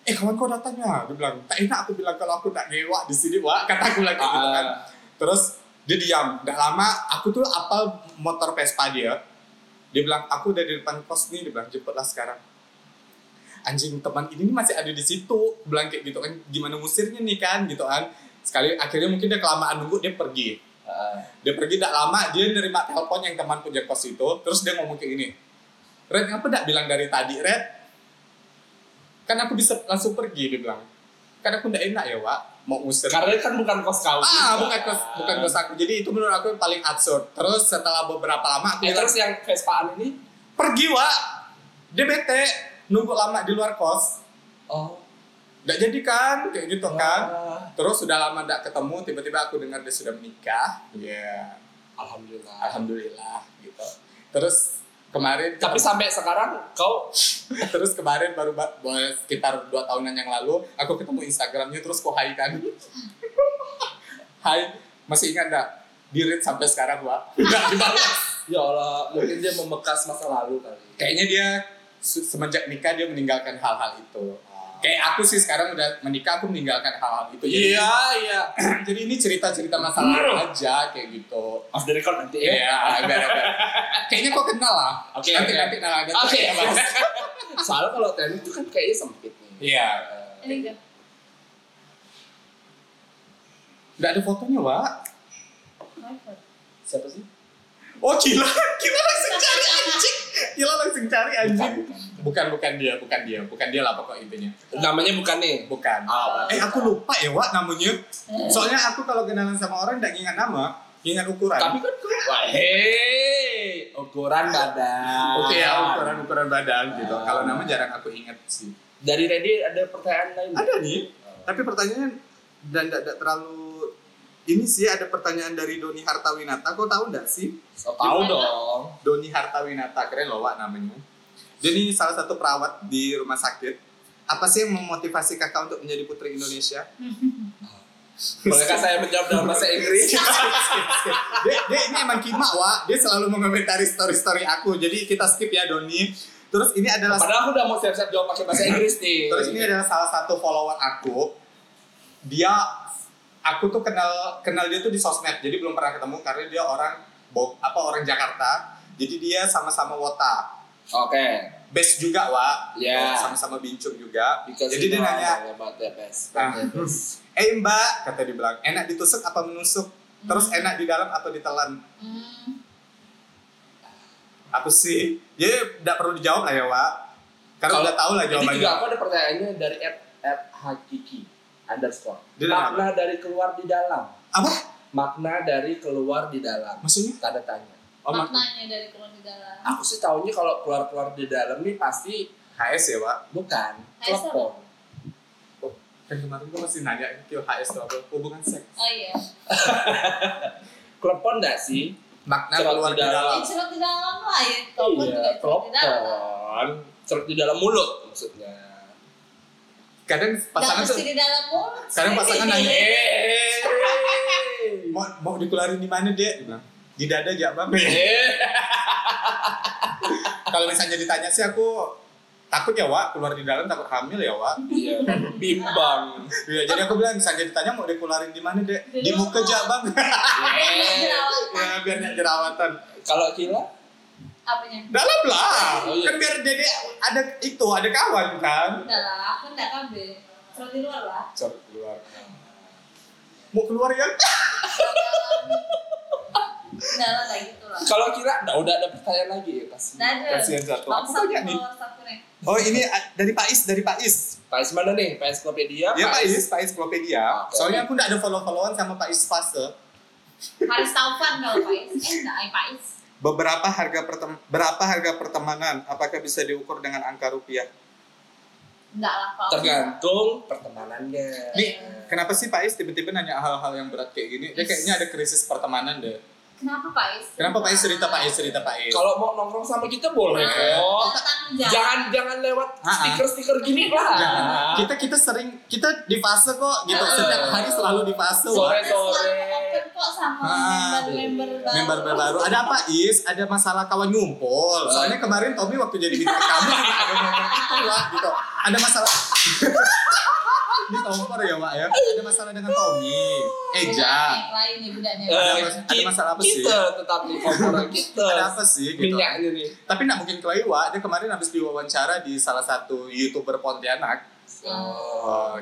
[SPEAKER 1] eh kawan kau datang ya dia bilang tak enak aku bilang kalau aku tak nyewa di sini wah kata aku lagi gitu kan
[SPEAKER 3] Ah,
[SPEAKER 1] terus dia diam nggak lama aku tuh apal motor Vespa dia dia bilang aku udah di depan kos nih dia bilang jemputlah sekarang anjing teman ini nih masih ada di situ bilang kayak gitu kan gimana musirnya nih kan gitu kan sekali akhirnya mungkin dia kelamaan nunggu dia pergi
[SPEAKER 3] ah.
[SPEAKER 1] dia pergi tak lama dia nerima telepon yang teman punya kos itu terus dia ngomong kayak gini Red ngapa gak bilang dari tadi Red kan aku bisa langsung pergi dia bilang kan aku gak enak ya Wak mau usir
[SPEAKER 3] karena kan bukan kos kau
[SPEAKER 1] ah
[SPEAKER 3] juga.
[SPEAKER 1] bukan kos bukan kos aku jadi itu menurut aku yang paling absurd terus setelah beberapa lama aku
[SPEAKER 3] Eh,
[SPEAKER 1] bilang,
[SPEAKER 3] terus yang Vespaan ini
[SPEAKER 1] pergi Wak dia bete nunggu lama di luar kos
[SPEAKER 3] oh
[SPEAKER 1] gak jadi kan kayak gitu kan
[SPEAKER 3] ah,
[SPEAKER 1] terus sudah lama gak ketemu tiba-tiba aku dengar dia sudah menikah ya
[SPEAKER 3] alhamdulillah
[SPEAKER 1] alhamdulillah gitu terus kemarin
[SPEAKER 3] tapi sampai sekarang kau
[SPEAKER 1] terus kemarin baru ba- ba- sekitar dua tahunan yang lalu aku ketemu instagramnya terus ku hai kan [laughs] hai masih ingat gak di read sampai sekarang wa nggak dibalas
[SPEAKER 3] ya Allah mungkin dia membekas masa lalu kali
[SPEAKER 1] kayaknya dia se- semenjak nikah dia meninggalkan hal-hal itu kayak aku sih sekarang udah menikah aku meninggalkan hal-hal itu Jadi-
[SPEAKER 3] iya iya
[SPEAKER 1] [clears throat] jadi ini cerita-cerita masalah aja kayak gitu
[SPEAKER 3] off the record nanti ya
[SPEAKER 1] Iya, benar-benar. Kayaknya kok kenal lah.
[SPEAKER 3] Oke,
[SPEAKER 1] nanti
[SPEAKER 3] oke.
[SPEAKER 1] nanti nah, nanti
[SPEAKER 3] oke [laughs]
[SPEAKER 1] ya, Mas.
[SPEAKER 3] soalnya kalau teknik itu kan kayaknya sempit nih
[SPEAKER 1] Iya.
[SPEAKER 2] Ini enggak.
[SPEAKER 1] Nggak ada fotonya, Wak.
[SPEAKER 2] iPhone.
[SPEAKER 3] siapa sih
[SPEAKER 1] Oh, gila. Gila langsung cari anjing. Gila langsung cari anjing.
[SPEAKER 3] Bukan,
[SPEAKER 1] Bukan, bukan dia, bukan dia. Bukan dia lah pokok intinya.
[SPEAKER 3] namanya bukan nih
[SPEAKER 1] Bukan.
[SPEAKER 3] Ah,
[SPEAKER 1] Eh, aku lupa ya, Wak, namanya. Soalnya aku kalau kenalan sama orang nggak ingat nama, ingat ukuran.
[SPEAKER 3] tapi kan kau wah hei ukuran badan
[SPEAKER 1] Oke ya, ukuran-ukuran badan gitu.
[SPEAKER 3] Ah.
[SPEAKER 1] Kalau nama jarang aku ingat sih.
[SPEAKER 3] dari ready ada pertanyaan lain nggak?
[SPEAKER 1] Ada nih. Tapi pertanyaannya dan tidak terlalu ini sih ada pertanyaan dari Doni Hartawinata. Kau tahu nggak sih?
[SPEAKER 3] so, tahu
[SPEAKER 2] Gimana?
[SPEAKER 3] dong
[SPEAKER 1] Doni Hartawinata keren loh Wak namanya. Dia ini salah satu perawat di rumah sakit. Apa sih yang memotivasi kakak untuk menjadi putri [laughs] Indonesia?
[SPEAKER 3] bolehkah saya menjawab dalam bahasa
[SPEAKER 1] [laughs]
[SPEAKER 3] Inggris
[SPEAKER 1] dia, dia ini emang kimak Wak. Dia selalu mengomentari story-story aku. Jadi kita skip ya Doni. Terus ini adalah
[SPEAKER 3] padahal aku udah mau siap-siap jawab pakai bahasa Inggris nih
[SPEAKER 1] terus ini adalah salah satu follower aku. Dia aku tuh kenal kenal dia tuh di sosmed. Jadi belum pernah ketemu karena dia orang Bog- apa orang Jakarta. Jadi dia sama-sama wota.
[SPEAKER 3] oke
[SPEAKER 1] Best juga Wak. Oh,
[SPEAKER 3] Ya.
[SPEAKER 1] Sama-sama bincung juga.
[SPEAKER 3] Because
[SPEAKER 1] Jadi
[SPEAKER 3] you
[SPEAKER 1] dia
[SPEAKER 3] know
[SPEAKER 1] nanya,
[SPEAKER 3] about the best,
[SPEAKER 1] Ah.
[SPEAKER 3] about the best.
[SPEAKER 1] Eh mbak, kata dia bilang, enak ditusuk apa menusuk? Terus enak di dalam atau ditelan?
[SPEAKER 2] Hmm.
[SPEAKER 1] Apa sih? Jadi nggak perlu dijawab lah ya, Wak. Karena
[SPEAKER 3] Kalau-
[SPEAKER 1] udah tahu lah
[SPEAKER 3] Ini
[SPEAKER 1] jawabannya.
[SPEAKER 3] juga aku ada pertanyaannya dari at, at Hakiki underscore.
[SPEAKER 1] Dia nanya,
[SPEAKER 3] Makna dari keluar di dalam.
[SPEAKER 1] Apa?
[SPEAKER 3] Makna dari keluar di dalam.
[SPEAKER 1] Maksudnya?
[SPEAKER 3] Tanda tanya.
[SPEAKER 1] Oh, mak-
[SPEAKER 2] Maknanya dari keluar di dalam.
[SPEAKER 3] Aku sih tahunya kalau keluar-keluar di dalam nih pasti
[SPEAKER 1] HS ya, Wak?
[SPEAKER 3] bukan
[SPEAKER 2] HS Nah, apa?
[SPEAKER 3] klepon.
[SPEAKER 1] Kan kemarin gue masih nanya, kio HS itu apa? Hubungan seks.
[SPEAKER 2] Oh iya.
[SPEAKER 3] Klepon enggak sih?
[SPEAKER 1] Makna
[SPEAKER 3] Cerot
[SPEAKER 1] keluar
[SPEAKER 3] di
[SPEAKER 1] di
[SPEAKER 3] dalam.
[SPEAKER 1] dalam.
[SPEAKER 2] Ya cerot di dalam lah ya. Telepon juga cerot di dalam.
[SPEAKER 3] Iya, klepon. Cerut di dalam mulut maksudnya.
[SPEAKER 1] Kadang pasangan
[SPEAKER 2] Nggak
[SPEAKER 1] tuh,
[SPEAKER 2] mesti di dalam mulut.
[SPEAKER 1] kadang pasangan
[SPEAKER 2] ya?
[SPEAKER 1] nanya, eh,
[SPEAKER 3] Eh.
[SPEAKER 1] mau, mau dikeluarin di mana, Dek? Dia bilang, Di dada aja,
[SPEAKER 3] [laughs]
[SPEAKER 1] Bang.
[SPEAKER 3] Eh.
[SPEAKER 1] Kalau misalnya ditanya sih aku takut ya, Wak. Keluar di dalam takut hamil ya, Wak.
[SPEAKER 3] Iya, bimbang.
[SPEAKER 1] Iya, jadi aku bilang misalnya ditanya mau dikeluarin di mana, Dek?
[SPEAKER 2] Di
[SPEAKER 1] Di
[SPEAKER 2] rumah.
[SPEAKER 1] muka aja, Bang. [laughs]
[SPEAKER 2] Nggak jerawatan.
[SPEAKER 1] ya, biar nggak jerawatan
[SPEAKER 3] Kalau Kila?
[SPEAKER 2] Apanya?
[SPEAKER 1] dalam lah
[SPEAKER 3] Oh, iya.
[SPEAKER 1] kan biar dede ada itu ada kawan kan
[SPEAKER 2] Enggak lah, aku enggak KB. Cerot di luar lah.
[SPEAKER 1] Cor, keluar mau keluar ya
[SPEAKER 2] Enggak lah, kayak gitu lah.
[SPEAKER 3] Kalau Kila nggak, udah ada pertanyaan lagi ya pasti.
[SPEAKER 2] Nggak ada.
[SPEAKER 1] Kasihan satu. Aku
[SPEAKER 2] Bangsa
[SPEAKER 1] banyak nih.
[SPEAKER 2] keluar satu nih.
[SPEAKER 1] oh ini a- dari Pak Is dari Pak Is
[SPEAKER 3] Pak Is mana nih? Pak Ensklopedia?
[SPEAKER 1] ya Pak Is Pak Is Klopedia
[SPEAKER 3] Oke.
[SPEAKER 1] soalnya aku nggak ada follow followan sama Pak Is fase
[SPEAKER 2] Haris Taufan kalau Pais. Eh, enggak, eh, Pais.
[SPEAKER 1] beberapa harga pertem berapa harga pertemanan apakah bisa diukur dengan angka rupiah
[SPEAKER 2] enggak lah kalau
[SPEAKER 3] tergantung pertemanannya
[SPEAKER 1] Nih, Kenapa sih Pak Is tiba-tiba nanya hal-hal yang berat kayak gini? Dia kayaknya ada krisis pertemanan deh.
[SPEAKER 2] kenapa Pak Is
[SPEAKER 1] Kenapa Pak Is cerita Pak Is cerita Pak Is?
[SPEAKER 3] kalau mau nongkrong sama kita boleh
[SPEAKER 1] Nah.
[SPEAKER 3] kok
[SPEAKER 2] datang
[SPEAKER 3] Oh, jangan jangan lewat
[SPEAKER 1] Ah, ah.
[SPEAKER 3] stiker stiker gini
[SPEAKER 1] Jangan.
[SPEAKER 3] lah
[SPEAKER 1] Kita kita sering kita di fase kok gitu.
[SPEAKER 2] Ah.
[SPEAKER 1] Setiap hari selalu di fase. Wak.
[SPEAKER 3] Sore.
[SPEAKER 2] Kita selalu open kok sama
[SPEAKER 1] Ah,
[SPEAKER 2] member-member baru
[SPEAKER 1] Member baru. Ada apa Is? Ada masalah kawan ngumpul. Soalnya kemarin Tommy waktu jadi bintang tamu juga ada ngomong itu lah gitu. Ada masalah. [laughs] Ini kompor ya Wak ya. Ada masalah dengan Tommy. Eja.
[SPEAKER 2] Yang Eh, lain nih budaknya
[SPEAKER 3] Eh,
[SPEAKER 1] Ada mas- ada
[SPEAKER 3] ki-
[SPEAKER 1] masalah apa sih?
[SPEAKER 3] kita tetap di kompor kita
[SPEAKER 1] Ada apa sih gitu?
[SPEAKER 3] minyaknya nih
[SPEAKER 1] Tapi nggak mungkin kelewa. Dia kemarin habis diwawancara di salah satu youtuber Pontianak.
[SPEAKER 2] Iya. Ah.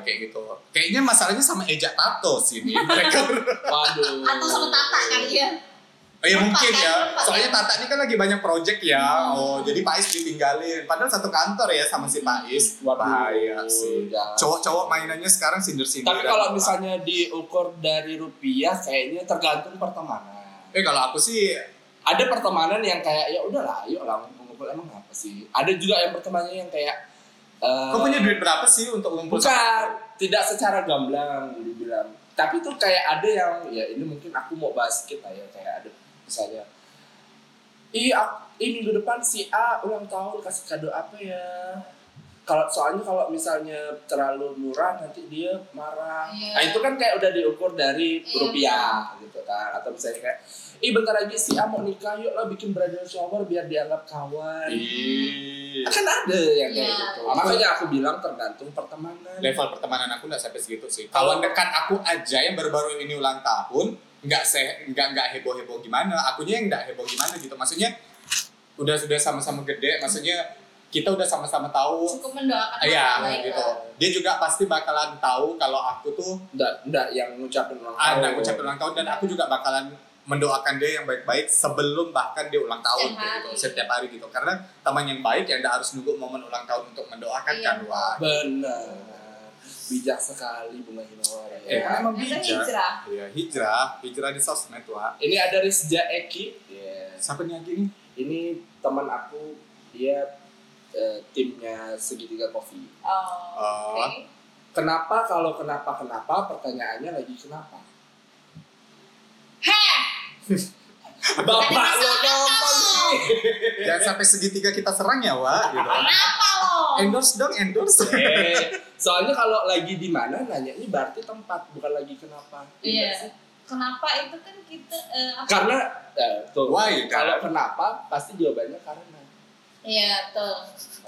[SPEAKER 1] Oh, kayak gitu. Kayaknya masalahnya sama Eja Tato sih ini. Mereka ber-
[SPEAKER 3] waduh
[SPEAKER 2] atau sama Tata kali ya
[SPEAKER 1] oh, ya mungkin
[SPEAKER 2] Lupa,
[SPEAKER 1] ya.
[SPEAKER 2] kan? Lupa,
[SPEAKER 1] Soalnya
[SPEAKER 2] kan?
[SPEAKER 1] Tata ini kan lagi banyak project ya. Oh, jadi Pais ditinggalin. Padahal satu kantor ya sama si Pais.
[SPEAKER 3] Waduh,
[SPEAKER 1] Bahaya sih.
[SPEAKER 3] jangan.
[SPEAKER 1] Cowok-cowok mainannya sekarang sindir-sindir.
[SPEAKER 3] tapi kalau misalnya diukur dari rupiah kayaknya tergantung pertemanan
[SPEAKER 1] Eh kalau aku sih
[SPEAKER 3] ada pertemanan yang kayak ya udahlah ayo lah ngumpul emang apa sih ada juga yang pertemanannya yang kayak eh,
[SPEAKER 1] Kau punya duit berapa sih untuk ngumpul?
[SPEAKER 3] bukan tidak secara gamblang dibilang tapi tuh kayak ada yang ya ini mungkin aku mau bahas sedikit lah ya kayak ada misalnya Ih, ak- ih, minggu depan si A ulang tahun kasih kado apa ya? Kalau soalnya kalau misalnya terlalu murah nanti dia marah.
[SPEAKER 2] Iya.
[SPEAKER 3] Nah, itu kan kayak udah diukur dari
[SPEAKER 2] Iya.
[SPEAKER 3] rupiah gitu kan atau misalnya kayak ih bentar lagi si A mau nikah yuk lah bikin bridal shower biar dianggap kawan.
[SPEAKER 1] Ih,
[SPEAKER 3] Kan ada yang kayak
[SPEAKER 2] Iya.
[SPEAKER 3] gitu. Makanya aku bilang tergantung pertemanan.
[SPEAKER 1] level pertemanan aku nggak sampai segitu sih. Kawan dekat aku aja yang baru-baru ini ulang tahun, nggak se nggak nggak heboh heboh gimana. Akunya yang nggak heboh gimana gitu. Maksudnya udah sudah sama-sama gede. Maksudnya kita udah sama-sama tahu.
[SPEAKER 2] cukup mendoakan Eh,
[SPEAKER 1] Iya
[SPEAKER 2] orang lain
[SPEAKER 1] gitu.
[SPEAKER 2] lah.
[SPEAKER 1] Dia juga pasti bakalan tahu kalau aku tuh
[SPEAKER 3] Enggak, enggak yang ngucapin ulang tahun.
[SPEAKER 1] anak ucapin ulang tahun dan aku juga bakalan mendoakan dia yang baik-baik sebelum bahkan dia ulang tahun
[SPEAKER 2] Setiap
[SPEAKER 1] kayak gitu,
[SPEAKER 2] hari.
[SPEAKER 1] setiap hari gitu. Karena teman yang baik ya nggak harus nunggu momen ulang tahun untuk mendoakan
[SPEAKER 2] Iya.
[SPEAKER 1] kan wah.
[SPEAKER 3] Benar. Bijak sekali Bunga Hinawara.
[SPEAKER 1] Eh,
[SPEAKER 3] ya.
[SPEAKER 1] emang
[SPEAKER 2] Itu
[SPEAKER 1] bijak.
[SPEAKER 2] hijrah.
[SPEAKER 1] Iya, hijrah, hijrah di sosmed, Wak.
[SPEAKER 3] Ini ada Rizja Eki. Yes.
[SPEAKER 1] Siapa nih Aki nih?
[SPEAKER 3] Ini teman aku dia eh, timnya segitiga kopi.
[SPEAKER 2] Oh,
[SPEAKER 1] Oh.
[SPEAKER 2] oke.
[SPEAKER 3] Kenapa kalau kenapa kenapa pertanyaannya lagi kenapa? [laughs]
[SPEAKER 2] Heh, Ada
[SPEAKER 3] Bapak lo
[SPEAKER 2] masalah dong.
[SPEAKER 3] nonton nih.
[SPEAKER 1] Jangan [laughs] sampai segitiga kita serang ya, Wak. Gitu.
[SPEAKER 2] kenapa lo?
[SPEAKER 1] Endorse dong, endorse.
[SPEAKER 3] Eh, soalnya kalau lagi di mana nanyanya berarti tempat bukan lagi kenapa.
[SPEAKER 2] Iya.
[SPEAKER 3] Iya sih.
[SPEAKER 2] Kenapa itu kan kita eh, apa-
[SPEAKER 3] Karena eh, tuh
[SPEAKER 1] Why, kan?
[SPEAKER 3] kalau kenapa pasti jawabannya karena.
[SPEAKER 2] Iya, betul.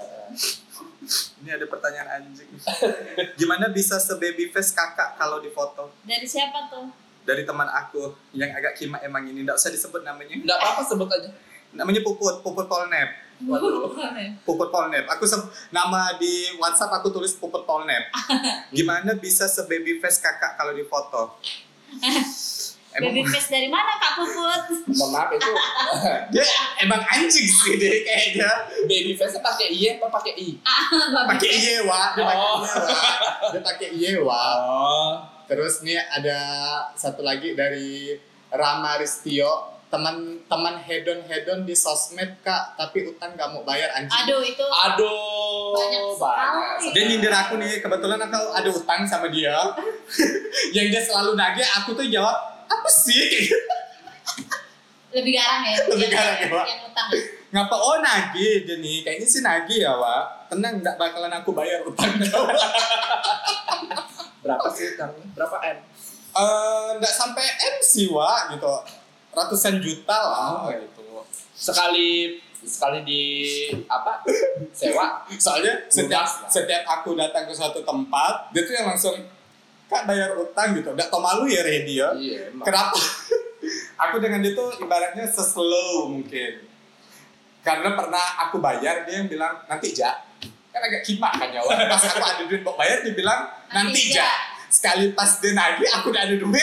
[SPEAKER 3] Eh,
[SPEAKER 1] [laughs] Ini ada pertanyaan anjing. Gimana bisa sebaby face kakak kalau difoto?
[SPEAKER 2] Dari siapa tuh?
[SPEAKER 1] Dari teman aku yang agak kima emang ini. Nggak usah disebut namanya.
[SPEAKER 3] Enggak apa-apa sebut aja.
[SPEAKER 1] Namanya Puput, Puput Polnep.
[SPEAKER 3] Waduh.
[SPEAKER 1] Puput Polnep. Aku se- nama di WhatsApp aku tulis Puput
[SPEAKER 2] [laughs]
[SPEAKER 1] Polnep. Gimana bisa sebaby face kakak kalau difoto?
[SPEAKER 2] [laughs] Baby face dari mana Kak [laughs] Puput?
[SPEAKER 3] Mohon maaf itu
[SPEAKER 1] dia emang anjing sih deh kayaknya
[SPEAKER 3] baby face pakai i ya, apa pakai i?
[SPEAKER 2] Ah,
[SPEAKER 1] pakai yewa dia pakai
[SPEAKER 3] Oh.
[SPEAKER 1] yewa dia pakai yewa
[SPEAKER 3] Oh.
[SPEAKER 1] Ah. terus nih ada satu lagi dari Rama Ristio teman-teman hedon hedon di sosmed kak tapi utang gak mau bayar anjing
[SPEAKER 2] Aduh, itu
[SPEAKER 3] Aduh.
[SPEAKER 2] Banyak sekali.
[SPEAKER 1] dia nyindir aku nih kebetulan aku ada utang sama dia [laughs] yang dia selalu nagih aku tuh jawab apa sih [laughs]
[SPEAKER 2] lebih garang ya.
[SPEAKER 1] Lebih
[SPEAKER 2] Yang-
[SPEAKER 1] garang ya, Pak.
[SPEAKER 2] Yang utang.
[SPEAKER 1] ngapa oh nagih dia nih kayaknya sih nagih ya wa tenang nggak bakalan aku bayar utang [laughs] kau
[SPEAKER 3] Berapa sih utangnya? Berapa M?
[SPEAKER 1] Eh, nggak sampai M sih wa gitu ratusan juta lah
[SPEAKER 3] Oh.
[SPEAKER 1] gitu
[SPEAKER 3] Sekali sekali di apa? Sewa.
[SPEAKER 1] soalnya setiap
[SPEAKER 3] Lunas lah.
[SPEAKER 1] setiap aku datang ke suatu tempat dia tuh yang langsung kak bayar utang gitu nggak tau malu ya Reddy ya
[SPEAKER 3] Iya. emang.
[SPEAKER 1] kenapa [laughs] aku dengan dia tuh ibaratnya seslow mungkin karena pernah aku bayar dia yang bilang nanti ja kan agak kimak kan ya
[SPEAKER 2] [laughs]
[SPEAKER 1] Wak. pas aku ada duit mau bayar dia bilang nanti
[SPEAKER 2] Nanti,
[SPEAKER 1] ja
[SPEAKER 2] Ja."
[SPEAKER 1] sekali pas dia nagih aku udah ada duit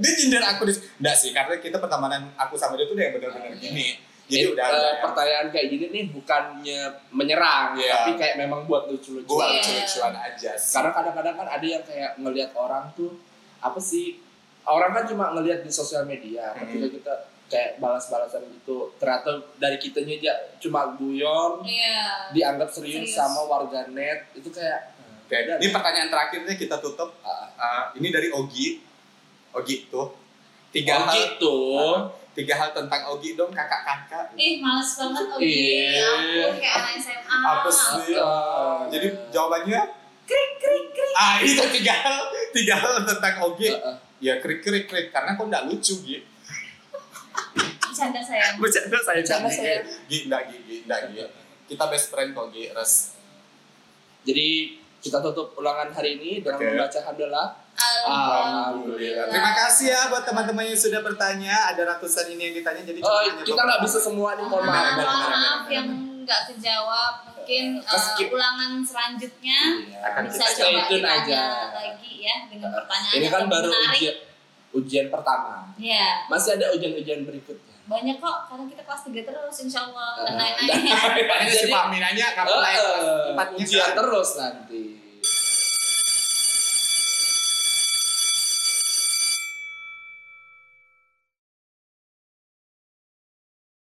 [SPEAKER 1] dia nyindir aku di enggak sih karena kita pertemanan aku sama dia tuh udah yang benar-benar gini jadi
[SPEAKER 3] Eh,
[SPEAKER 1] udah
[SPEAKER 3] eh,
[SPEAKER 1] ada ya? yang-
[SPEAKER 3] pertanyaan kayak gini nih bukannya menyerang
[SPEAKER 1] Iya.
[SPEAKER 3] tapi kayak memang buat
[SPEAKER 1] gua
[SPEAKER 3] lucu-lucuan.
[SPEAKER 2] Iya.
[SPEAKER 1] lucu-lucuan aja sih.
[SPEAKER 3] Karena kadang-kadang kan ada yang kayak ngelihat orang tuh apa sih? Orang kan cuma ngelihat di sosial media, ketika
[SPEAKER 1] Mhm.
[SPEAKER 3] kita kayak balas-balasan gitu ternyata dari kitanya aja cuma guyon
[SPEAKER 2] Iya.
[SPEAKER 3] dianggap serius,
[SPEAKER 2] Serius.
[SPEAKER 3] sama warganet itu kayak "Oh,
[SPEAKER 1] Oke, ini
[SPEAKER 3] Iya.
[SPEAKER 1] pertanyaan terakhirnya kita tutup.
[SPEAKER 3] ah,
[SPEAKER 1] Ah, ini dari Ogi. Ogi tuh. Tiga
[SPEAKER 3] oh
[SPEAKER 1] hal
[SPEAKER 3] gitu
[SPEAKER 1] tiga hal tentang Ogi dong kakak-kakak.
[SPEAKER 2] Ih, males banget oh
[SPEAKER 3] Iya.
[SPEAKER 2] iya. Aku kayak anak SMA.
[SPEAKER 1] Apa sih?
[SPEAKER 3] Ah.
[SPEAKER 1] Jadi jawabannya
[SPEAKER 2] Krik krik krik.
[SPEAKER 1] ah itu tiga hal tiga hal tentang Ogi.
[SPEAKER 3] Ah, ah.
[SPEAKER 1] Ya krik krik krik karena kok nggak lucu gitu.
[SPEAKER 2] Bercanda sayang.
[SPEAKER 1] Bercanda saya
[SPEAKER 3] Bercanda
[SPEAKER 1] Gi.
[SPEAKER 3] saya.
[SPEAKER 1] Gi nggak Gi Gi, nggak Gi. Kita best friend kok Gi res.
[SPEAKER 3] jadi kita tutup ulangan hari ini dengan
[SPEAKER 1] Oke.
[SPEAKER 3] membaca hamdalah Alhamdulillah.
[SPEAKER 1] Terima kasih ya buat teman-teman yang sudah bertanya. Ada ratusan ini yang ditanya jadi cuma
[SPEAKER 3] Eh,
[SPEAKER 1] hanya
[SPEAKER 3] kita
[SPEAKER 1] beberapa.
[SPEAKER 3] nggak bisa semua nih mohon
[SPEAKER 1] Bentar,
[SPEAKER 2] maaf,
[SPEAKER 1] bentar,
[SPEAKER 3] maaf
[SPEAKER 1] bentar,
[SPEAKER 2] maaf
[SPEAKER 1] bentar.
[SPEAKER 2] yang nggak kejawab mungkin
[SPEAKER 3] Ke skip.
[SPEAKER 2] eh, ulangan selanjutnya
[SPEAKER 3] Iya.
[SPEAKER 1] Akan
[SPEAKER 2] bisa
[SPEAKER 3] Stay
[SPEAKER 2] coba
[SPEAKER 3] tune
[SPEAKER 2] ditanya
[SPEAKER 3] aja.
[SPEAKER 2] lagi ya dengan pertanyaan
[SPEAKER 3] ini
[SPEAKER 2] yang
[SPEAKER 3] kan baru
[SPEAKER 2] menarik.
[SPEAKER 3] ujian ujian pertama
[SPEAKER 2] Iya.
[SPEAKER 3] masih ada ujian-ujian berikutnya
[SPEAKER 2] Banyak kok karena kita kelas 3 terus insya Allah dan
[SPEAKER 3] Eh,
[SPEAKER 2] lain-lain.
[SPEAKER 1] Makanya si
[SPEAKER 3] Jadi-
[SPEAKER 1] Fahmi nanya kamu
[SPEAKER 3] Eh,
[SPEAKER 1] naik kelas
[SPEAKER 3] eh,
[SPEAKER 1] empatnya
[SPEAKER 3] ujian
[SPEAKER 1] kan?
[SPEAKER 3] terus nanti